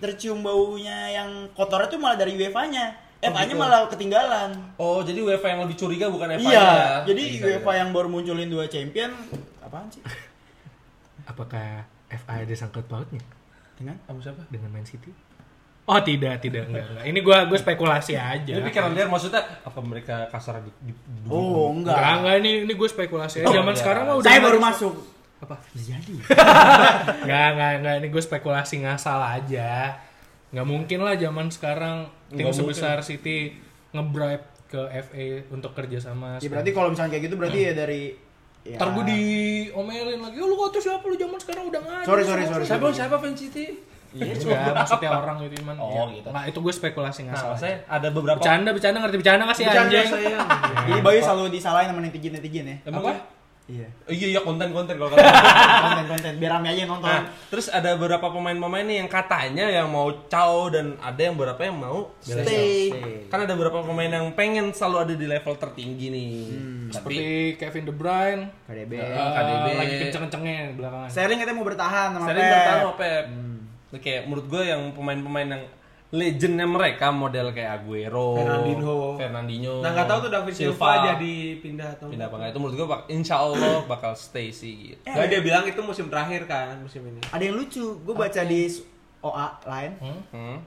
S2: tercium baunya yang kotornya tuh malah dari UEFA-nya. FA-nya malah ketinggalan.
S1: oh jadi UEFA yang lebih curiga bukan FA
S2: iya,
S1: ya
S2: jadi
S1: Bisa,
S2: UEFA
S1: bisa.
S2: yang baru munculin dua champion apaan sih?
S3: apakah FA ada sangkut pautnya
S2: Dengan
S1: Kamu siapa
S3: dengan Man City? Oh tidak, tidak, enggak, enggak. Ini gue gue spekulasi aja.
S1: Ini pikiran dia maksudnya apa mereka kasar di, di- di-
S2: Iya. Oh, enggak.
S3: Enggak, Oh, enggak, ini, ini gue spekulasi aja. Zaman
S1: iya.
S3: sekarang mah udah
S2: Saya baru
S3: harus-
S2: masuk.
S3: Apa?
S2: Bisa jadi.
S3: Nggak, nggak, nggak. Ini gue spekulasi ngasal aja. Nggak mungkin lah zaman sekarang tim
S1: Nggak
S3: sebesar City ngebribe ke FA untuk kerjasama.
S1: Hmm.
S2: Ya berarti kalau misalnya kayak gitu berarti ya dari Ya.
S3: Ntar gue diomelin lagi, "Ya, lu kok tuh siapa lu zaman sekarang udah ngaji.
S2: Sorry, sorry, sorry.
S1: Siapa siapa fan City?
S3: Iya, enggak, maksudnya orang gitu cuman.
S1: Oh,
S3: ya.
S1: gitu.
S3: Nah, itu gue spekulasi nggak
S1: Nah,
S3: salah.
S1: saya ada beberapa
S3: Bercanda, bercanda ngerti bercanda nggak sih anjing?
S4: Iya.
S2: Jadi Bayu selalu disalahin sama netizen-netizen ya.
S1: Emang apa?
S2: Iya.
S1: Iya iya konten-konten kalau kata.
S2: Konten-konten biar rame aja yang nonton.
S1: Nah, terus ada beberapa pemain-pemain nih yang katanya yang mau caw dan ada yang beberapa yang mau
S2: Stay.
S1: Kan ada beberapa pemain yang pengen selalu ada di level tertinggi nih.
S4: Hmm.
S1: Tapi
S3: Seperti Kevin De Bruyne,
S1: Nah,
S2: KDB.
S3: eh,
S1: KDB.
S3: lagi kenceng-kencengnya belakangan.
S2: Sterling katanya mau bertahan sama
S1: sering
S2: Pep.
S1: bertahan sama Pep.
S4: Hmm.
S1: Nah, Kayak menurut gue yang pemain-pemain yang legendnya mereka model kayak Aguero,
S4: Fernandinho.
S1: Fernandinho.
S4: Nah nggak tahu tuh David Silva jadi pindah atau
S1: pindah apa nggak itu menurut gue bak insya Allah bakal stay sih gitu.
S4: Nggak, dia bilang itu musim terakhir kan musim ini.
S2: Ada yang lucu, gue baca di OA lain,
S1: Hmm.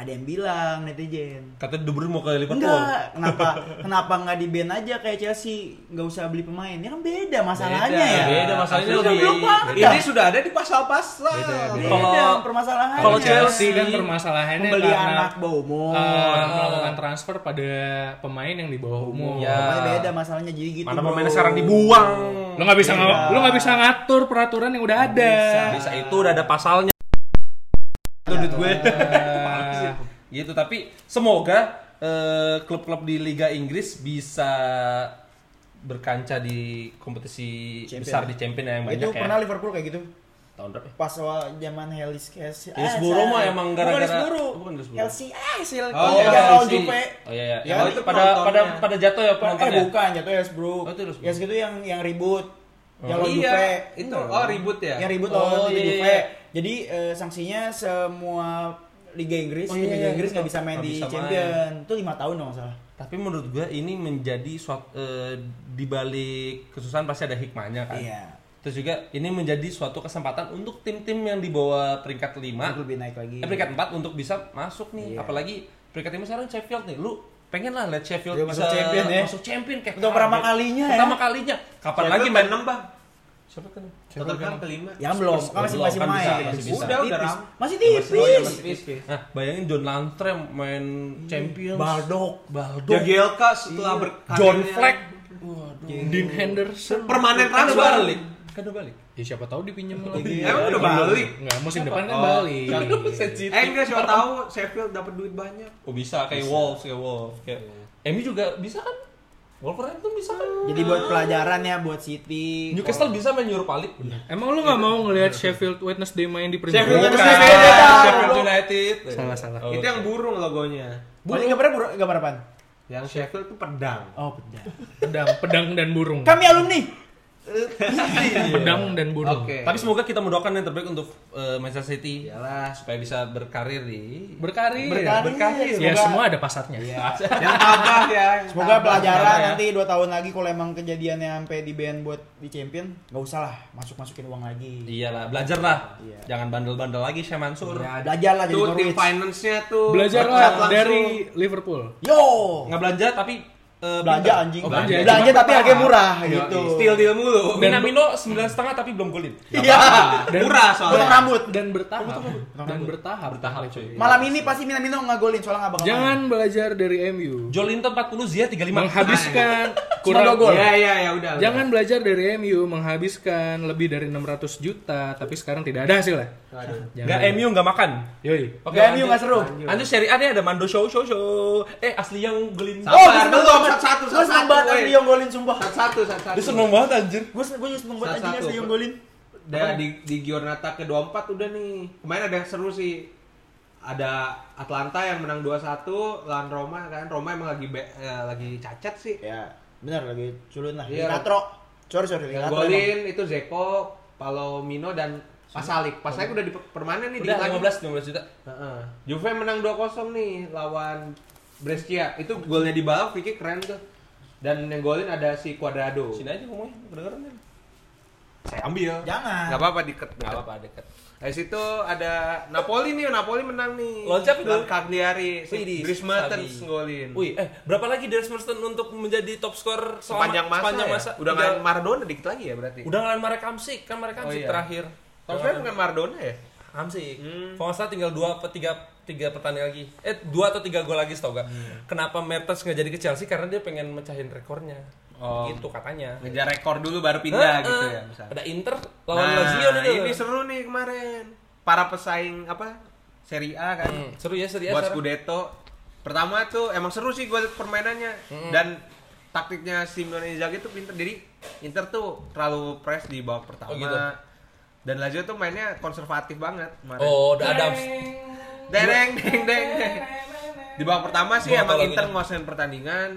S2: ada yang bilang netizen.
S1: Katanya De Bruyne mau ke Liverpool.
S2: Enggak, kenapa kenapa nggak di band aja kayak Chelsea, nggak usah beli pemain. Ya kan beda masalahnya ya.
S1: Iya, beda masalahnya
S4: Harusnya
S1: lebih.
S4: belum ada.
S1: Beda.
S4: Ini sudah ada di pasal-pasal.
S1: Beda, beda.
S2: Beda
S1: Kalau-
S2: permasalahannya.
S1: kalau
S3: Chelsea
S1: Chelsea
S3: kan permasalahannya
S2: Pembeli
S3: karena
S2: anak bomo.
S3: eh, melakukan transfer pada pemain yang di bawah umur.
S1: Ya.
S2: beda masalahnya jadi gitu.
S1: Mana
S2: bro.
S1: pemainnya sekarang dibuang.
S3: Lo nggak bisa
S2: Iya.
S3: nga- lo nggak bisa ngatur peraturan yang udah ada.
S1: Bisa itu udah ada pasalnya. Itu duit gue. gitu tapi semoga eh, klub-klub di Liga Inggris bisa berkancah di kompetisi
S2: Champion.
S1: besar di Champion yang banyak
S2: Itu
S1: ya.
S2: pernah Liverpool kayak gitu.
S1: Tahun berapa? ya?
S2: Pas awal zaman Helis Kes.
S1: Hillsborough mah emang gara-gara-
S2: Bukan Hillsborough.
S1: Bukan Hillsborough.
S2: Chelsea. Ah, Sil.
S4: Oh,
S2: Oh,
S4: iya,
S2: Jarol
S1: Chelsea.
S2: Jupe.
S1: Oh iya iya.
S2: Ya,
S1: Yang
S2: itu
S1: pada pada
S4: penontonnya.
S1: pada jatuh ya
S2: Eh,
S1: penontonnya.
S2: bukan, jatuh Hillsborough.
S1: Oh, itu Hillsborough.
S2: Yes itu yang yang ribut. Jarol
S4: Iya,
S2: Jupe.
S4: itu oh ribut ya.
S2: Yang ribut
S1: Oh,
S2: lawan
S1: iya,
S2: Jupe.
S1: iya.
S2: Jadi eh, sanksinya semua Liga Inggris,
S1: Oh, iya,
S2: Liga
S1: iya,
S2: Inggris nggak
S1: betul.
S2: bisa main
S1: Nggak
S2: di
S1: bisa main.
S2: Champion. Itu lima tahun dong masalah.
S1: Tapi menurut gue ini menjadi suatu eh, di balik kesusahan pasti ada hikmahnya kan.
S2: Iya.
S1: Terus juga ini menjadi suatu kesempatan untuk tim-tim yang di bawah peringkat 5
S2: Lebih naik lagi.
S1: eh, peringkat 4 untuk bisa masuk
S2: Iya.
S1: nih. Apalagi peringkat 5 sekarang Sheffield nih. Lu pengen lah lihat Sheffield
S2: Dia
S1: bisa
S2: masuk champion ya.
S1: masuk champion kayak
S2: Untuk pertama
S1: kaget.
S2: kalinya ya.
S1: Pertama kalinya. Kapan
S4: Siapa
S1: lagi
S4: yang
S1: main
S4: keenam, bang.
S1: Siapa kan?
S4: Tottenham kelima.
S2: Ya belum, kan masih
S1: Belum,
S2: masih
S1: kan
S2: main.
S1: bisa, masih bisa.
S4: Udah, udah
S2: tipis.
S4: ram.
S2: Masih
S4: Oh, iya,
S2: tipis.
S4: masih tipis.
S1: Nah, bayangin John Lantre main
S2: Hmm.
S1: champion.
S2: Baldok.
S1: Baldo.
S4: Jagielka setelah
S1: Iya.
S4: berkarirnya
S1: John Fleck.
S3: Dean Henderson.
S4: permanen
S1: Kan udah
S4: transfer.
S1: balik. Kan udah balik.
S3: Ya siapa tahu dipinjam lagi.
S4: Emang udah balik?
S3: Enggak, musim depan kan
S4: Oh,
S3: balik.
S1: iya,
S2: Iya.
S1: Sensitif.
S4: Eh enggak siapa tahu Sheffield dapat duit banyak.
S1: Oh bisa kayak Wolves kayak Wolves kayak
S2: Iya.
S1: Emi juga bisa kan? Wolverhampton bisa kan?
S2: Jadi buat pelajaran ya buat City.
S1: Newcastle bisa main Europa League.
S3: Emang lu nggak mau ngelihat Sheffield Wednesday main di Premier
S2: Sheffield
S3: League?
S2: Wednesday.
S1: Sheffield United.
S3: Salah, salah.
S1: Oh,
S4: Itu yang burung logonya.
S2: Boleh gambar bur- gambar apaan?
S4: Yang Sheffield tuh pedang.
S2: Oh, pedang.
S3: Pedang, pedang dan burung. Iya.
S2: Kami alumni.
S3: Pedang dan burung.
S4: Oke.
S1: Tapi semoga kita mendoakan yang terbaik untuk eh, Manchester City
S4: Iyalah.
S1: supaya bisa berkarir di
S3: Berkarir.
S2: Berkarir.
S3: Ya
S2: Kan Semoga-
S3: semua ada pasatnya.
S4: Yang tabah ya. yang
S2: Semoga
S4: tabah.
S2: pelajaran
S1: ya.
S2: nanti 2 tahun lagi kalau emang kejadiannya sampai di band buat di champion, nggak usah lah masuk-masukin uang lagi.
S1: Iyalah, belajar lah.
S2: Iya.
S1: Jangan bandel-bandel lagi Syekh Mansur.
S2: Ya, belajar lah jadi
S4: Tuh tim
S2: Norwich.
S4: finance-nya tuh. loncat
S3: Belajarlah
S4: langsung.
S3: dari Liverpool.
S2: Yo,
S1: Nggak belanja tapi eh,
S2: belanja
S1: pintar.
S2: anjing.
S3: Oh,
S2: belanja.
S3: belanja.
S2: tapi harganya murah
S4: Yoi,
S2: gitu.
S4: Steal deal mulu.
S1: Minamino sembilan setengah tapi belum golin.
S2: Iya.
S3: Dan-
S4: Murah
S2: Potong
S4: soalnya.
S2: rambut.
S3: Dan bertahap. Dan bertahap.
S1: Bertahap, cuy.
S2: Malam ini pasti Minamino nggak golin soalnya nggak bakal main.
S3: Jangan belajar dari MU.
S1: Jolinton 40, Zia 35.
S3: Menghabiskan
S2: dua
S3: kurang
S2: gol.
S4: Ya ya ya udah. udah.
S3: Jangan belajar dari MU menghabiskan lebih dari 600 juta tapi sekarang tidak ada hasilnya.
S4: Aduh.
S1: Nggak MU nggak makan.
S3: Yoi.
S1: Oke,
S2: Nggak, MU
S1: lanjut.
S2: nggak seru.
S1: Lanjut seri A nih ada Mando Show Show Show. Eh asli yang golin.
S2: Oh,
S4: Sabar, belum,
S2: banget.
S4: satu-satu,
S2: Gue seneng
S4: satu-satu,
S2: banget
S4: weh.
S2: Andy yang golin sumpah.
S4: Satu satu satu.
S1: Dia seneng banget anjir.
S2: Gue gue seneng banget anjing
S4: Satu-satu.
S2: Asli yang golin.
S4: Da- di di Giornata ke-24 udah nih. Kemarin ada yang seru sih. Ada Atlanta yang menang 2-1 lawan Roma kan. Roma emang lagi be- eh, lagi cacat sih.
S2: Ya, benar lagi culun lah.
S4: Iya.
S2: Latro. Sorry sorry.
S4: Yang
S2: Latro emang.
S4: golin itu Zeko, Palomino dan Pasalik. Pasalik udah di permanen nih
S1: Udah
S4: dikit
S1: 15
S4: lagi.
S1: 15 juta.
S4: Heeh. Juve menang 2-0 nih lawan Brescia. Itu golnya di bawah, Vicky keren tuh. Dan yang golin ada si Cuadrado.
S1: Sini aja ngomongnya, kedengeran deh.
S4: Saya ambil.
S2: Jangan.
S4: Gak apa-apa deket.
S1: Enggak
S4: Gak apa-apa.
S1: apa-apa dekat.
S4: Dari Nah, situ ada Napoli nih, Napoli menang nih.
S1: Loncat itu.
S4: Lawan Cagliari. Si
S1: Widih,
S4: Dries Mertens
S1: Sabi.
S4: Eh, ngolin.
S1: Wih, eh berapa lagi Dries Mertens untuk menjadi top skor selama
S4: sepanjang masa,
S1: sepanjang
S4: ya?
S1: masa?
S4: Udah ngalahin Maradona dikit lagi ya berarti.
S1: udah ngalahin Marek Hamsik kan Marek Hamsik
S4: iya.
S1: terakhir.
S4: Kalau sekarang bukan Maradona ya?
S1: Hamsik.
S4: Hmm.
S1: Kalau nggak salah tinggal 2 atau 3 tiga pertandingan lagi.
S4: Hmm.
S1: Eh, 2 atau 3 gol lagi setahu gak? Kenapa Mertens nggak jadi ke Chelsea? Karena dia pengen mecahin rekornya. Oh. Gitu katanya.
S4: Ngejar rekor dulu baru pindah
S1: Eh,
S4: gitu
S1: eh.
S4: ya misalnya.
S1: Ada Inter lawan Lazio
S4: Nah,
S1: nih
S4: ini seru nih kemarin. Para pesaing apa? Serie A kan.
S1: Hmm, seru ya Serie A
S4: buat
S1: sekarang.
S4: Scudetto. Pertama tuh emang seru sih gue permainannya dan taktiknya Simone Inzaghi tuh pinter. Jadi Inter tuh terlalu press di babak
S1: Oh,
S4: pertama.
S1: gitu.
S4: Dan Lazio tuh mainnya konservatif banget kemarin.
S1: Oh, udah ada
S4: Dereng, deng, deng, deng. Di babak pertama sih
S1: Gua
S4: emang
S1: tahu
S4: Inter
S1: lagunya.
S4: nguasain pertandingan.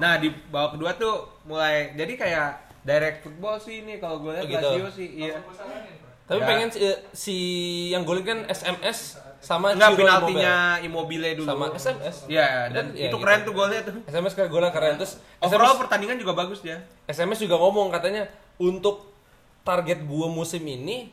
S4: Nah, di babak kedua tuh mulai jadi kayak direct football sih ini kalau gue lihat
S1: Oh, gitu.
S4: Lazio sih iya.
S1: Tapi
S4: Ya.
S1: pengen si, eh, si yang golin kan SMS sama
S4: Enggak
S1: Ciro
S4: penaltinya Immobile dulu.
S1: Sama SMS.
S4: Iya, dan
S1: Iya,
S4: itu
S1: gitu.
S4: keren tuh golnya tuh.
S1: Immobile. SMS kayak golnya keren terus
S4: Overall
S1: SMS,
S4: pertandingan juga bagus dia.
S1: SMS juga ngomong katanya untuk target gua musim ini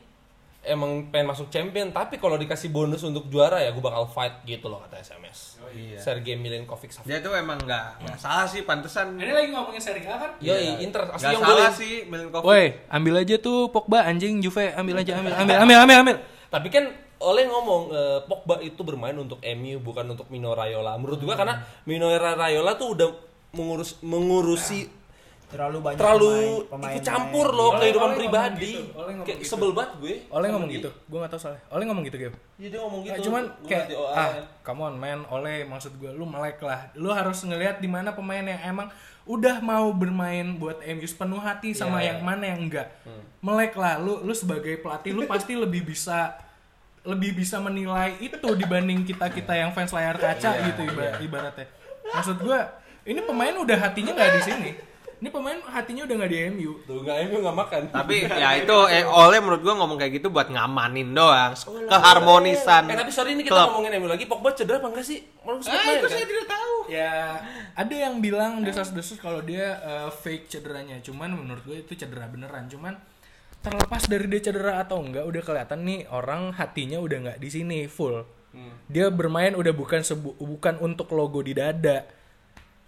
S1: emang pengen masuk champion tapi kalau dikasih bonus untuk juara ya gua bakal fight gitu loh kata SMS. Oh,
S4: iya.
S1: Sergei Milinkovic
S4: Dia tuh emang nggak nggak salah sih pantesan.
S3: Ini lagi ngomongin Serie A kan?
S1: Yo, Inter asli
S4: iya. Nggak
S1: yang
S4: salah
S1: golin.
S4: sih Milinkovic.
S3: Woi, ambil aja tuh Pogba anjing Juve, ambil aja, ambil, ambil, ambil, ambil, ambil.
S1: Tapi kan oleh ngomong eh, Pogba itu bermain untuk MU bukan untuk Mino Raiola. Menurut gua karena Mino Raiola tuh udah mengurus mengurusi
S2: terlalu banyak
S1: terlalu
S2: pemain-
S1: ikut
S2: pemain
S1: campur
S2: main.
S1: loh
S3: Oleh-
S1: kehidupan
S3: Oleh ngomong
S1: pribadi.
S3: gitu, Oleh ngomong
S1: Kayak
S3: gitu.
S1: sebel banget gue.
S3: Oleh ngomong gitu, gue gak tau salah. Oleh ngomong gitu, Gap.
S1: Iya dia ngomong gitu.
S3: Nah, cuman
S1: Gua
S3: kayak
S1: ngerti eh." OAN.
S3: ah come on man oleh maksud gue lu melek lah lu harus ngelihat di mana pemain yang emang udah mau bermain buat MU sepenuh hati
S1: Iya,
S3: sama yang mana yang enggak
S1: Hmm.
S3: melek lah lu lu sebagai pelatih lu pasti lebih bisa lebih bisa menilai itu dibanding kita kita yang fans layar kaca
S1: Iya,
S3: gitu iba- ibaratnya maksud gue ini pemain udah hatinya nggak di sini ini pemain hatinya udah nggak di MU
S1: Tuh enggak MU enggak makan.
S4: Tapi ya itu eh, Ole menurut gua ngomong kayak gitu buat ngamanin doang,
S1: Oh,
S4: keharmonisan.
S1: Eh tapi sorry ini kita
S4: klub.
S1: ngomongin MU lagi. Pogba cedera apa enggak sih?
S3: Eh,
S1: kan? Menurut
S4: Ah, itu saya tidak tahu.
S3: ya ada yang bilang desas-desus kalau dia eh, fake cederanya cuman menurut gue itu cedera beneran cuman terlepas dari dia cedera atau enggak udah kelihatan nih orang hatinya udah nggak di sini full dia bermain udah bukan sebu- bukan untuk logo di dada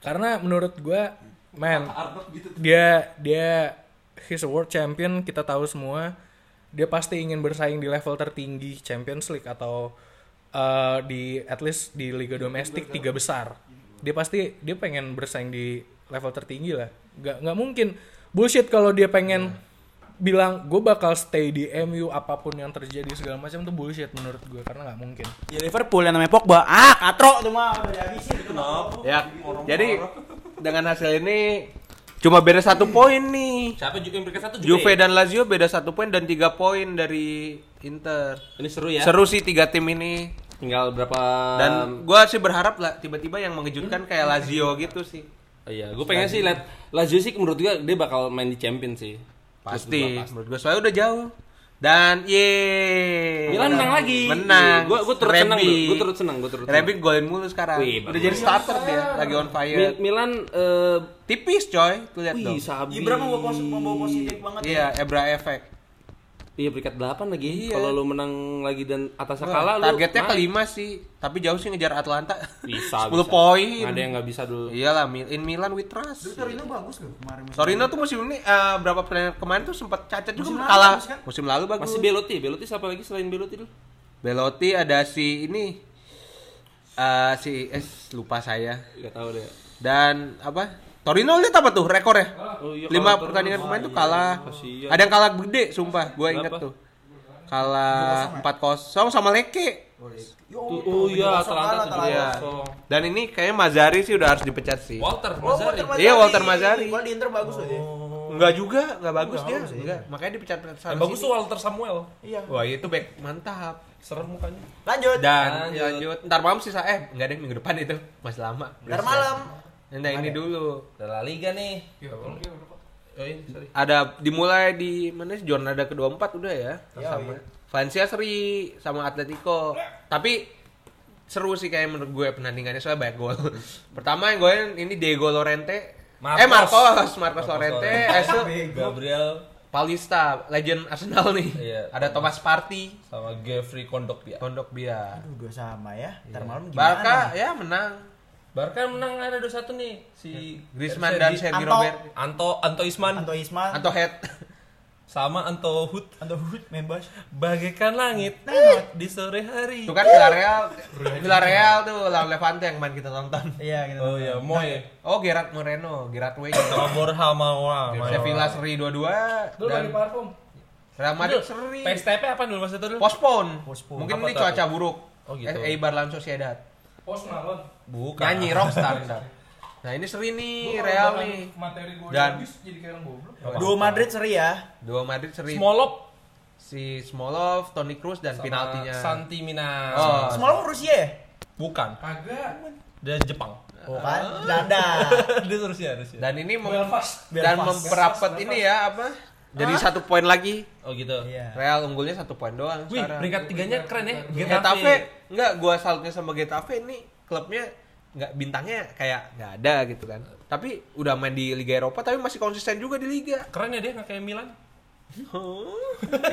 S3: karena menurut gue man gitu? dia dia he's a world champion kita tahu semua dia pasti ingin bersaing di level tertinggi Champions League atau uh, di at least di liga domestik tiga besar dia pasti dia pengen bersaing di level tertinggi lah nggak nggak mungkin bullshit kalau dia pengen bilang gue bakal stay di MU apapun yang terjadi segala macam tuh bullshit menurut gue karena nggak mungkin
S2: Ya Liverpool yang namanya Pogba. Ah, katro tuh mah udah habisin itu mah.
S4: Ya, jadi dengan hasil ini cuma beda satu poin nih.
S1: Siapa Ju- yang peringkat satu
S4: Juve dan Lazio beda satu poin dan tiga poin dari Inter.
S1: Ini seru ya.
S4: Seru sih tiga tim ini.
S1: Tinggal berapa
S4: Dan gua sih berharap lah tiba-tiba yang
S1: Hmm.
S4: mengejutkan kayak Lazio gitu sih.
S1: Oh Iya, gue pengen sih lihat Lazio sih menurut gue dia bakal main di Champion sih.
S4: Pasti. Menurut gue soalnya udah jauh. Dan ye.
S1: Milan menang lagi.
S4: Menang.
S1: Gue gue turut senang,
S4: Rebic.
S1: gue turut senang, gue turut. senang.
S4: Rebic golin mulu sekarang.
S1: Wih,
S4: udah
S1: bagus.
S4: jadi starter dia, lagi on fire.
S1: Mi- Milan eh
S4: Tipis coy, tuh lihat
S1: wih
S4: dong.
S1: sabi.
S2: Ibra membawa positif, membawa positif banget.
S4: Iya, Ebra Effect.
S1: Iya peringkat 8 lagi. Kalau lu menang lagi dan atasnya kalah lu
S4: Targetnya
S1: naik.
S4: kelima sih, tapi jauh sih ngejar Atlanta.
S1: Bisa,
S4: 10
S1: bisa.
S4: poin.
S1: Nggak Ada yang nggak bisa dulu.
S4: Iyalah, Mil- in Milan we trust.
S2: Torino bagus loh kemarin.
S4: Torino tuh musim ini eh, berapa pertandingan kemarin tuh sempat cacat juga
S2: Musim lalu
S4: kalah.
S2: bagus kan?
S4: Musim lalu bagus.
S1: Masih Belotti, Belotti siapa lagi selain Belotti dulu?
S4: Belotti ada si ini eh si eh lupa saya.
S1: Gak tahu deh.
S4: Dan apa? Torino lihat apa tuh rekornya?
S1: Oh, iya, kalah
S4: Lima
S1: terus.
S4: pertandingan kemarin tuh
S1: Ah, iya,
S4: kalah.
S1: kasihan.
S4: Ada yang kalah gede, sumpah. Gue inget
S1: Berapa?
S4: tuh. Kalah 4-0 sama Leke.
S1: Tuh, oh iya, Atalanta tuh
S4: Iya.
S2: Oh,
S1: kosong.
S4: Dan ini kayaknya Mazari sih udah harus dipecat sih.
S1: Walter, Mazzari.
S2: Walter Mazzari.
S4: Iya, Walter Mazzari.
S2: Gol di Inter bagus loh dia.
S4: Enggak juga, enggak bagus dia. Enggak, makanya dipecat
S1: Yang
S4: sama
S1: bagus tuh Walter Samuel.
S2: Iya.
S4: Wah, itu back mantap.
S1: Serem mukanya.
S2: Lanjut.
S4: Dan ya,
S1: Lanjut.
S4: lanjut. Ntar malam sisa eh enggak deh minggu depan itu. Masih lama.
S2: Ntar malam.
S4: Nah, ini dulu.
S1: Udah La Liga nih. Eh,
S4: Ada dimulai di mana sih jornada ke-24 udah ya. Sama Valencia seri sama Atletico. Tapi seru sih kayak menurut gue pertandingannya soalnya banyak gol. Pertama yang gue ini Diego Lorente. Eh
S1: Marcos.
S4: Marcos, Marcos Lorente, eh, Esu,
S1: Gabriel
S4: Palista, legend Arsenal nih.
S1: Iya.
S4: Ada Thomas Partey,
S1: sama Geoffrey Kondogbia.
S4: Pondok Bia.
S2: Aduh, gua sama ya. Ntar malam gimana?
S4: Barca ya menang.
S1: Barca menang ada 2-1 nih si
S4: Griezmann dan
S1: Sergi-
S4: Sergi
S2: Anto.
S4: Robert
S1: Anto Anto Isman.
S2: Anto Isman.
S4: atau head
S1: sama Antohut
S2: Anda hood members.
S1: bagaikan langit di sore hari.
S4: Itu kan Villarreal, Villarreal tuh lawan Levante yang main kita tonton.
S2: Iya gitu.
S1: Oh iya, Moy
S4: Oh, Gerard Moreno, Gerard Way,
S1: sama Borja Mawa.
S4: Sevilla seri 22
S3: Dulu
S4: dan
S3: lagi parfum.
S4: Real
S1: Dulu,
S4: Madrid seri.
S1: PSTP apa dulu maksudnya dulu?
S4: Eh, Postpone.
S2: Postpone.
S4: Mungkin
S1: Apa
S4: ini
S1: tuh?
S4: cuaca buruk.
S1: Oh, gitu.
S4: Eh, Eibar lawan Sociedad.
S3: Pos malon.
S1: Bukan.
S4: Nyanyi rockstar ntar. Nah, ini seri nih Real nih.
S3: Materi gue
S4: Dan-
S3: habis jadi kayak orang goblok.
S2: Duo Madrid seri ya.
S4: Dua Madrid seri.
S1: Smolov
S4: Si Smolov, Toni Kroos dan
S1: sama
S4: penaltinya.
S1: Santi Mina.
S4: Oh.
S2: Semalam Rusia ya?
S1: Bukan.
S3: Kagak.
S1: Dia Jepang.
S2: Oh kan, Belanda.
S1: Dia Rusia, Rusia.
S4: Dan ini mem-
S3: Belfast.
S4: dan
S2: Belfast.
S4: memperapat
S3: Belfast,
S4: ini ya apa? Jadi satu poin lagi.
S1: Oh gitu.
S2: Iya.
S4: Real unggulnya satu poin doang.
S1: Wih,
S4: sekarang.
S1: peringkat tiganya keren ya.
S4: Getafe enggak Iya, gua salutnya sama Getafe ini klubnya nggak bintangnya kayak nggak ada gitu kan. Tapi udah main di Liga Eropa tapi masih konsisten juga di liga.
S1: Keren ya dia nggak kayak Milan.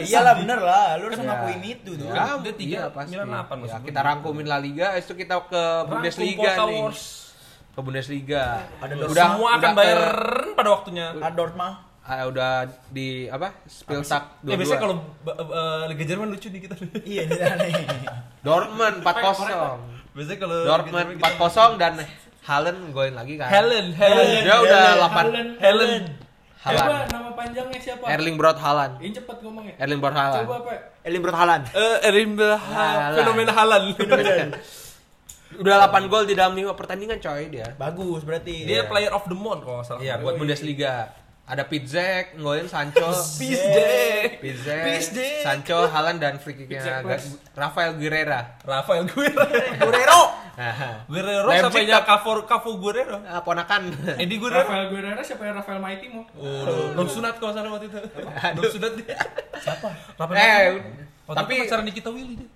S2: Iyalah bener lah, lu harus
S1: Iya.
S4: Ya.
S2: ngakuin itu tuh.
S4: Ya,
S1: dia tiga,
S4: iya, pasti.
S1: Milan delapan
S4: Ya,
S1: maksud
S4: kita
S1: gua.
S4: rangkumin La Liga, habis itu kita ke Bundesliga
S1: Kota
S4: nih.
S1: Wars.
S4: Ke Bundesliga.
S1: Udah, semua akan
S4: ke-
S1: Bayern pada waktunya. Eh,
S2: Adort mah.
S4: ah, udah di apa? Spieltag
S1: Ya,
S4: 22.
S1: biasanya kalau ba- eh, Liga Jerman lucu di kita.
S2: Iya, ini aneh.
S4: Dortmund
S1: Eh,
S4: 4-0.
S1: Biasanya kalau
S4: Dortmund 4-0 dan Halen golin lagi kan.
S1: Helen, Helen,
S4: Dia udah
S3: Haaland.
S4: 8
S1: Helen.
S3: Coba
S4: Haaland.
S3: nama panjangnya siapa?
S4: Erling Braut Haaland.
S3: Ini cepet ngomongnya.
S4: Erling Braut Haaland.
S3: Coba apa?
S2: Elin Berhalan.
S1: Eh, Erin Bel-
S4: Haaland.
S1: fenomena Haaland.
S4: Udah 8 gol di dalam 5 pertandingan coy dia.
S2: Bagus berarti.
S1: Dia player of the month kalau nggak salah.
S4: Iya, buat Bundesliga. Ada Pizzek, ngolin Sancho.
S1: Peace Day.
S4: Pizzek, Sancho, Haaland dan free kicknya Ga- Rafael Guerrera.
S1: Rafael Guerrero.
S2: Guerrero.
S4: Nah,
S1: Guerrero
S4: Leipzig
S1: sampainya Cafu Cafu Guerrero.
S4: ah, ponakan.
S1: Edi Guerrero.
S3: Rafael Guerrero siapa ya? Rafael Maitimo.
S1: Waduh, Nur Sunat kalau salah waktu itu. Nur Sunat dia. Siapa? Rafael.
S4: eh,
S1: Guerrero. Waktu
S4: tapi
S1: tapi pacaran Nikita Willy dia.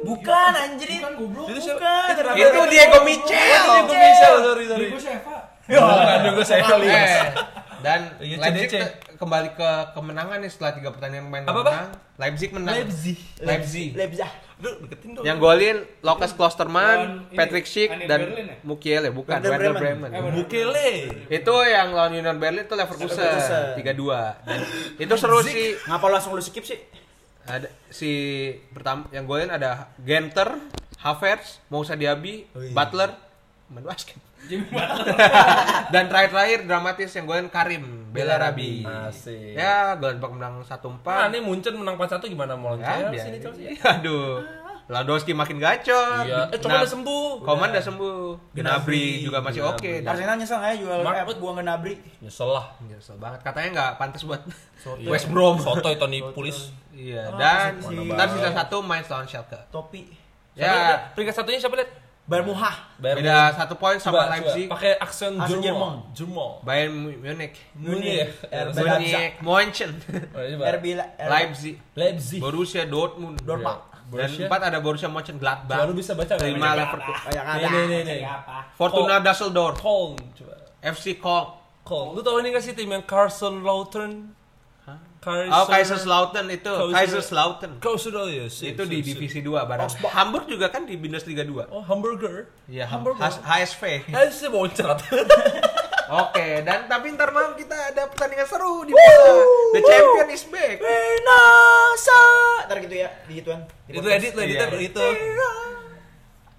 S2: Bukan anjir.
S3: Bukan goblok.
S1: Itu siapa?
S2: Bukan.
S1: Itu
S4: itu Diego Michel.
S1: Ini gue bisa, sorry Ya, sorry.
S3: Diego Sheva.
S1: Bukan gue saya.
S4: Eh, dan
S1: Iya,
S4: Leipzig
S1: CDC.
S4: ke- kembali ke kemenangan nih setelah 3 pertandingan main
S1: Apa,
S4: menang. Leipzig menang.
S1: Leipzig.
S4: Leipzig.
S2: Leipzig.
S1: Duh, deketin dong.
S4: Yang golin Lukas Klosterman,
S3: Lawan ini,
S4: Patrick Schick
S3: Anir
S4: dan
S3: Berlin ya?
S4: Mukiele bukan
S2: Werder
S4: Werder
S2: Bremen. Eh,
S4: Bremen.
S1: Bukele.
S4: Itu yang lawan Union Berlin itu Leverkusen
S2: Leverkusen.
S4: 3-2. Dan itu seru sih.
S2: Ngapa langsung lu skip sih?
S4: Ada si pertama yang golin ada Genter, Havertz, Moussa Diaby,
S2: Oh, iya.
S4: Butler, main basket.
S3: Jimmy Butler.
S4: Dan terakhir-terakhir dramatis yang golin Karim Belarabi.
S1: Asik.
S4: Ya, golin babak menang
S1: Nah,
S4: 1-4.
S1: ini Munchen menang 4-1 gimana mau lawan
S4: Ya,
S1: Chelsea
S4: biarin.
S1: nih Chelsea?
S4: Aduh. Lewandowski makin gacor.
S1: Iya. Eh, coba
S4: Nah,
S1: udah sembuh.
S4: Koman udah Iya, sembuh. Gnabry juga masih oke. Dan-
S2: Arsenal nyesel nggak ya jual eh, buang ke Nabri.
S1: Nyesel lah. Iya.
S4: Nyesel banget. Katanya nggak pantas buat West Brom.
S1: Sotoy Tony Pulis.
S4: Iya. dan
S2: si-
S4: ntar sisa satu main lawan Schalke.
S2: Topi.
S4: Ya.
S1: Siapa liat? Peringkat satunya siapa lihat?
S2: Bermuha.
S4: Beda satu poin sama Leipzig.
S1: Pakai aksen
S2: Aksen Jerman.
S1: Ah, Jerman. Jerman.
S4: Bayern Mu- Munich.
S1: Munich. Ya,
S2: Munich.
S4: Munich, München,
S1: Iya.
S2: RB La- eh,
S4: Leipzig,
S1: Leipzig.
S4: Borussia Dortmund. Iya.
S2: Dortmund.
S4: Dan
S1: Borussia.
S4: empat ada Borussia Mönchengladbach.
S1: Baru bisa baca.
S4: Lima
S1: Banyak.
S4: Leverkusen.
S2: Kayak ada.
S1: Nih, nih, nih, nih.
S4: Fortuna Düsseldorf.
S1: Köln coba.
S4: FC Köln.
S1: Köln. Lu tau ini gak sih tim yang Kaiserslautern? Kaiser-
S4: Oh, Kaiserslautern itu.
S1: Kaiser-
S4: Kaiserslautern.
S1: Kaiserslautern, ya, sip,
S4: Itu di
S1: sip, sip.
S4: divisi 2 barang. Hamburg juga kan di Bundesliga 2.
S1: Oh, hamburger.
S4: Iya, Hamburg.
S1: hamburger.
S4: HSV.
S1: Eh, sih boncrat.
S4: Oke, dan tapi ntar malam kita ada pertandingan seru di Bursa. The Champion is back.
S2: Winasa. Ntar gitu ya, di gituan. Di
S1: Itu
S2: podcast.
S1: edit lah, edit
S4: Iya.
S1: itu.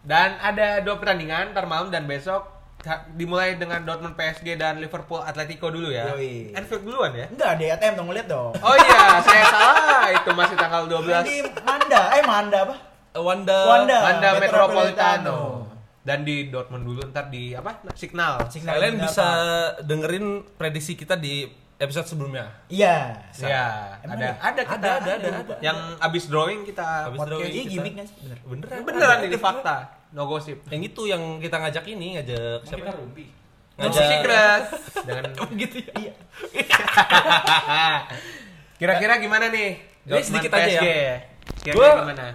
S4: Dan ada dua pertandingan ntar malam dan besok Ha- dimulai dengan Dortmund PSG dan Liverpool Atletico dulu ya.
S2: Yoi.
S4: Anfield duluan ya.
S2: Enggak, di ATM dong lihat dong.
S4: Oh iya, saya salah. Itu masih tanggal 12
S1: Iya,
S2: Di Manda, eh Manda apa?
S1: Wanda.
S2: Wanda.
S4: Anda
S2: Metropolitano.
S4: Metropolitano. Dan di Dortmund dulu ntar di apa? Signal.
S2: Signal
S1: Kalian
S2: berapa?
S1: bisa dengerin prediksi kita di episode sebelumnya.
S2: Iya.
S4: Ya,
S2: Emang
S4: ada ada kita
S1: iya? Ada, ada, ada, ada.
S4: yang abis drawing kita
S1: Abis
S4: podcast.
S1: drawing.
S2: Ini
S1: kita-
S2: gimmick nggak sih? Bener.
S1: Beneran. Iya.
S4: Beneran
S1: ada.
S4: ini fakta, no gossip.
S1: Yang itu yang kita ngajak ini, ngajak
S3: Emang
S1: siapa?
S3: Kita rumpi.
S4: Ngajak secret dengan
S1: gitu ya. Iya.
S4: kira-kira gimana nih?
S1: Ini sedikit aja ya.
S4: ya. Kira-kira
S1: Gua-
S4: gimana?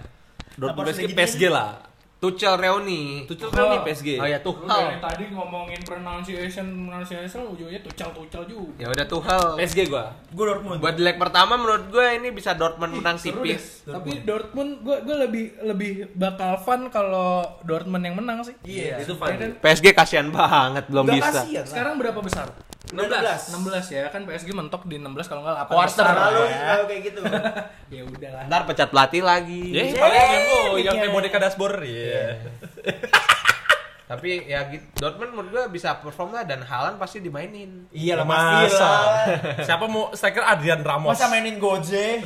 S1: Dortmund
S2: Apa
S1: PSG,
S2: sedikit
S1: PSG lah.
S4: Tuchel Reuni.
S1: Tuchel kan nih
S3: Oh.
S1: PSG.
S4: Oh ya
S3: Lu dari
S4: Tuchel.
S3: tadi ngomongin pronunciation, pronunciation ujungnya tucal-tucal juga.
S4: Ya udah Tuchel.
S1: PSG gua.
S2: Gue Dortmund.
S4: Buat leg pertama menurut gue ini bisa Dortmund menang
S3: Seru
S4: tipis.
S3: deh. Tapi Dortmund gue gue lebih lebih bakal fun kalau Dortmund yang menang sih.
S2: Iya.
S1: Itu fun.
S3: Ya kan?
S4: PSG kasihan banget belum
S2: Nggak ya?
S4: bisa.
S2: kasihan lah.
S3: Sekarang berapa besar?
S1: 16.
S3: 16 ya kan PSG mentok di 16 kalau nggak 8
S1: Quarter.
S3: besar.
S2: Selalu selalu kayak gitu.
S3: ya udahlah
S4: Ntar pecat pelatih lagi.
S1: Ya, paling yang lo yang kayak boneka dashboard. Iya.
S4: Tapi ya gitu, Dortmund menurut gua bisa perform lah dan Halan pasti dimainin.
S2: Iya lah pasti
S1: Masa.
S2: lah.
S1: Siapa mau striker Adrian Ramos?
S2: Masa mainin Goje?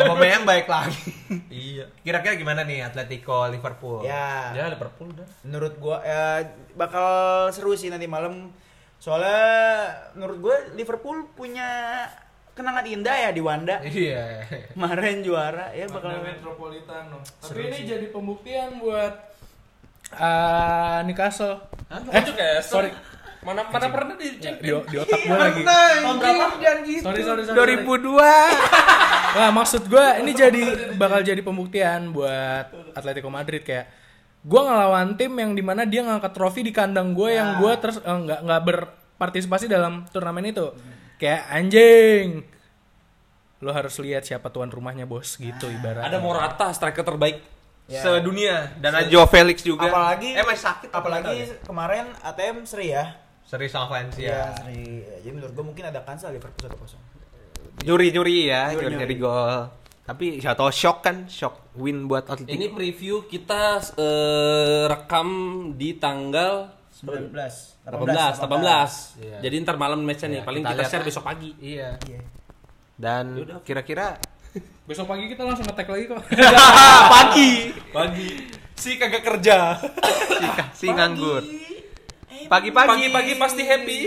S4: Aubameyang baik lagi.
S1: Iya.
S4: Kira-kira gimana nih Atletico Liverpool?
S2: ya.
S1: Ya Liverpool dah.
S2: menurut gua eh, bakal seru sih nanti malam soalnya menurut gua Liverpool punya kenangan indah ya di Wanda
S4: Iya.
S2: kemarin juara ya bakal
S3: Karena Metropolitano. Tapi ini jadi pembuktian buat eh Newcastle.
S1: Eh, kayak
S3: sorry.
S1: Mana mana pernah di Iya,
S3: Di, di otak gue lagi.
S2: tahun berapa
S3: Sorry, sorry, sorry.
S4: 2002.
S3: Nah, maksud gue ini jadi bakal jadi pembuktian buat Atletico Madrid kayak gue ngelawan tim yang dimana dia ngangkat trofi di kandang gue yang gue terus eh, nggak nggak berpartisipasi dalam turnamen itu kayak anjing lo harus lihat siapa tuan rumahnya bos gitu ibarat
S1: Ada Morata striker terbaik
S2: Ya.
S1: sedunia.
S4: Dan ada Joe Felix juga.
S2: apalagi
S4: eh masih sakit
S2: apalagi kemarin ATM seri ya
S4: seri
S2: Iya
S4: sama Valencia.
S2: seri Ya, jadi menurut gua mungkin ada kansa Liverpool satu kosong
S4: Juri-juri ya,
S2: Juri-juri.
S4: juri-juri gol. Tapi siapa tahu shock kan, shock win buat Atletico.
S1: Ini preview kita eh, rekam di tanggal
S2: 19
S1: 18, 18.
S2: 18
S4: Iya.
S1: Jadi ntar malam matchnya nih,
S4: Iya,
S1: paling
S4: kita
S1: Ya, kita,
S4: lihat
S1: share
S4: lah.
S1: besok pagi.
S4: Iya. Ya
S2: Iya.
S4: Dan kira-kira
S3: besok pagi kita langsung ngetek lagi kok
S4: pagi
S1: Pagi. Si kagak kerja.
S4: si, si nganggur. Pagi-pagi
S1: Pagi-pagi pasti happy.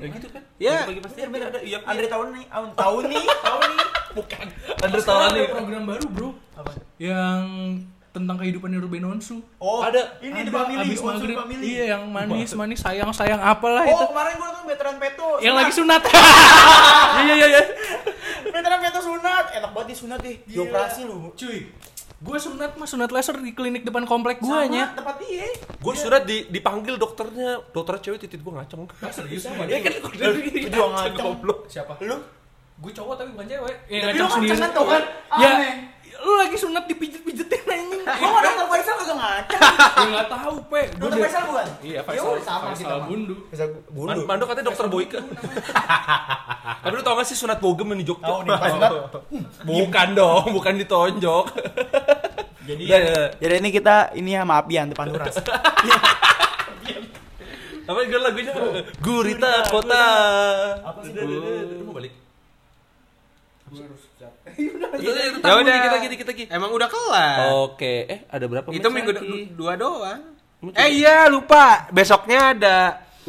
S1: Ya gitu kan?
S4: Ya.
S1: Pagi pasti happy ada iya.
S2: Andre tahun nih tahun tahun nih tahun nih bukan
S1: Ada
S3: Sekarang
S1: nih.
S3: ada program baru bro yang tentang kehidupannya Ruben Onsu
S2: oh
S1: Ada.
S2: ini
S3: Ada
S2: di family
S3: abis
S2: unsur
S3: maghrib.
S2: di family
S3: iya yang manis manis sayang sayang apalah itu
S2: oh kemarin gua nonton veteran Peto
S3: yang
S2: Sunat.
S3: lagi sunat iya iya iya
S2: Veteran Peto sunat enak banget disunat deh dioperasi lu
S3: cuy gue sunat mah sunat laser di klinik depan komplek gue nya
S2: tempat dia
S1: Gue sudah di- dipanggil dokternya, dokter cewek titit gue ngaceng.
S3: serius
S1: Ya kan gue udah
S2: Lu juga ngaceng.
S1: goblok.
S3: siapa
S2: lu
S3: gue cowok tapi bukan cewek ya,
S2: Tapi
S3: ngacak
S2: lu
S3: sendiri
S2: ngacakan tuh kan?
S3: ya
S2: Aneh.
S3: lu lagi sunat dipijet-pijetin anjing
S2: gua nggak dokter Faisal kagak ngaceng
S3: gue Eh, nggak tahu pe Gua
S2: dokter
S3: dia-
S2: Faisal bukan
S3: iya
S2: Ya
S3: Faisal
S2: udah, sama kita
S3: Faisal
S2: mah.
S3: Bundu
S2: Faisal
S1: Man-
S2: Bundu
S1: Mando katanya dokter Boyke. Tapi lu tau gak sih sunat bogem yang di Jogja?
S2: Tahu nih, pas sunat.
S1: bukan dong, bukan ditonjok. Jadi ya, ya.
S2: jadi ini kita ini ya, sama Apian depan Duras
S1: apa gue lagunya? Gurita Kota.
S2: Apa sih?
S1: Duh, Lu mau balik?
S4: Ya udah.
S1: Dikit lagi, dikit lagi.
S4: Emang udah kelar.
S1: Oke, eh ada berapa?
S4: Itu
S1: match
S4: minggu
S1: lagi?
S4: du- dua doang.
S1: Minggu
S4: Eh iya lupa. Besoknya ada.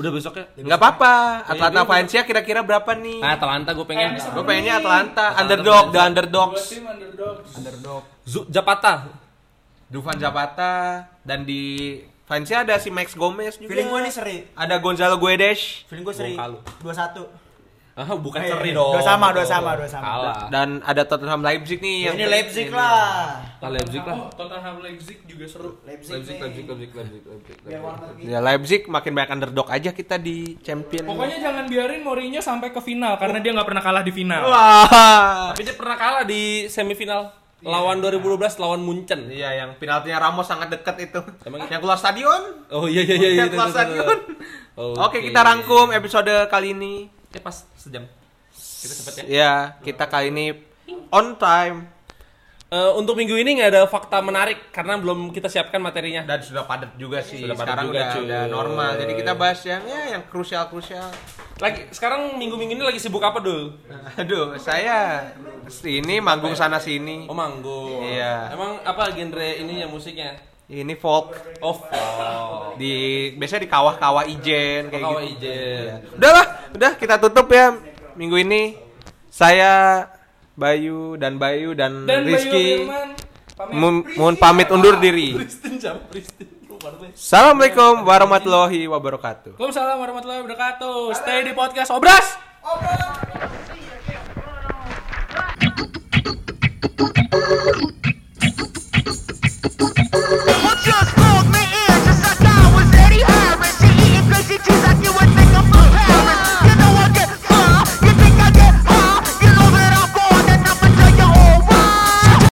S1: Udah besok ya?
S4: Nggak apa-apa. Atlanta
S1: iya,
S4: Valencia kira-kira berapa nih?
S1: Nah, Atalanta gue pengen.
S4: Gue pengennya Atlanta,
S1: Atlanta
S4: underdog,
S1: Valencia.
S4: the underdogs.
S2: underdog
S1: Zu- Zapata.
S4: Dufan Zapata dan di Valencia ada si Max Gomez juga.
S2: feeling gua nih seri
S4: Ada Gonzalo Guedes
S2: feeling gua seri
S1: Bongkal lu.
S2: dua satu
S1: Ah, bukan
S2: Eh,
S1: seri
S2: dua
S1: dong.
S2: sama, dua sama, dua sama.
S1: Kalah.
S4: dan ada Tottenham Leipzig nih. yang-
S2: ini Leipzig lah
S1: Nah, Leipzig lah.
S3: Tottenham Leipzig juga seru
S2: Leipzig
S1: Leipzig, Leipzig,
S2: nih
S1: Leipzig, Leipzig, Leipzig.
S2: biar warna biru.
S4: Ya Leipzig makin banyak underdog aja kita di champion.
S3: Pokoknya jangan biarin Mourinho sampai ke final karena dia nggak pernah kalah di final.
S4: Wah.
S1: Tapi dia pernah kalah di semifinal lawan 2012 lawan Munchen.
S4: Iya yang penaltinya Ramos sangat dekat itu.
S1: Emang-
S4: yang keluar stadion.
S1: Oh iya iya iya. iya,
S4: yang
S1: itu,
S4: keluar
S1: itu, itu.
S4: stadion. Oke, kita rangkum episode kali ini.
S1: Ya pas sejam. Kita cepet ya.
S4: Ya, kita kali ini on time
S1: Eh, untuk minggu ini nggak ada fakta menarik karena belum kita siapkan materinya.
S4: dan sudah padat juga sih.
S1: Sudah padat
S4: Sekarang
S1: juga,
S4: udah,
S1: cuy.
S4: udah normal. Jadi kita bahas yang ya yang krusial-krusial.
S1: Lagi sekarang minggu-minggu ini lagi sibuk apa dulu?
S4: Aduh, saya sini manggung sana sini.
S1: Oh manggung.
S4: Iya.
S1: Emang apa genre ininya musiknya?
S4: Ini folk
S1: Oh. oh.
S4: di biasanya di kawah-kawah ijen kayak
S1: Kawah
S4: gitu.
S1: Ijen.
S4: Udahlah, udah kita tutup ya minggu ini. Saya Bayu dan Bayu dan,
S3: Dan Bayu
S4: Rizky
S3: Firman, pamit.
S4: mun- mun pamit undur diri.
S1: Pristin jam Pristin. Luar deh.
S4: Assalamualaikum warahmatullahi wabarakatuh.
S3: Waalaikumsalam warahmatullahi wabarakatuh. Stay di podcast Obras.
S2: Obrol.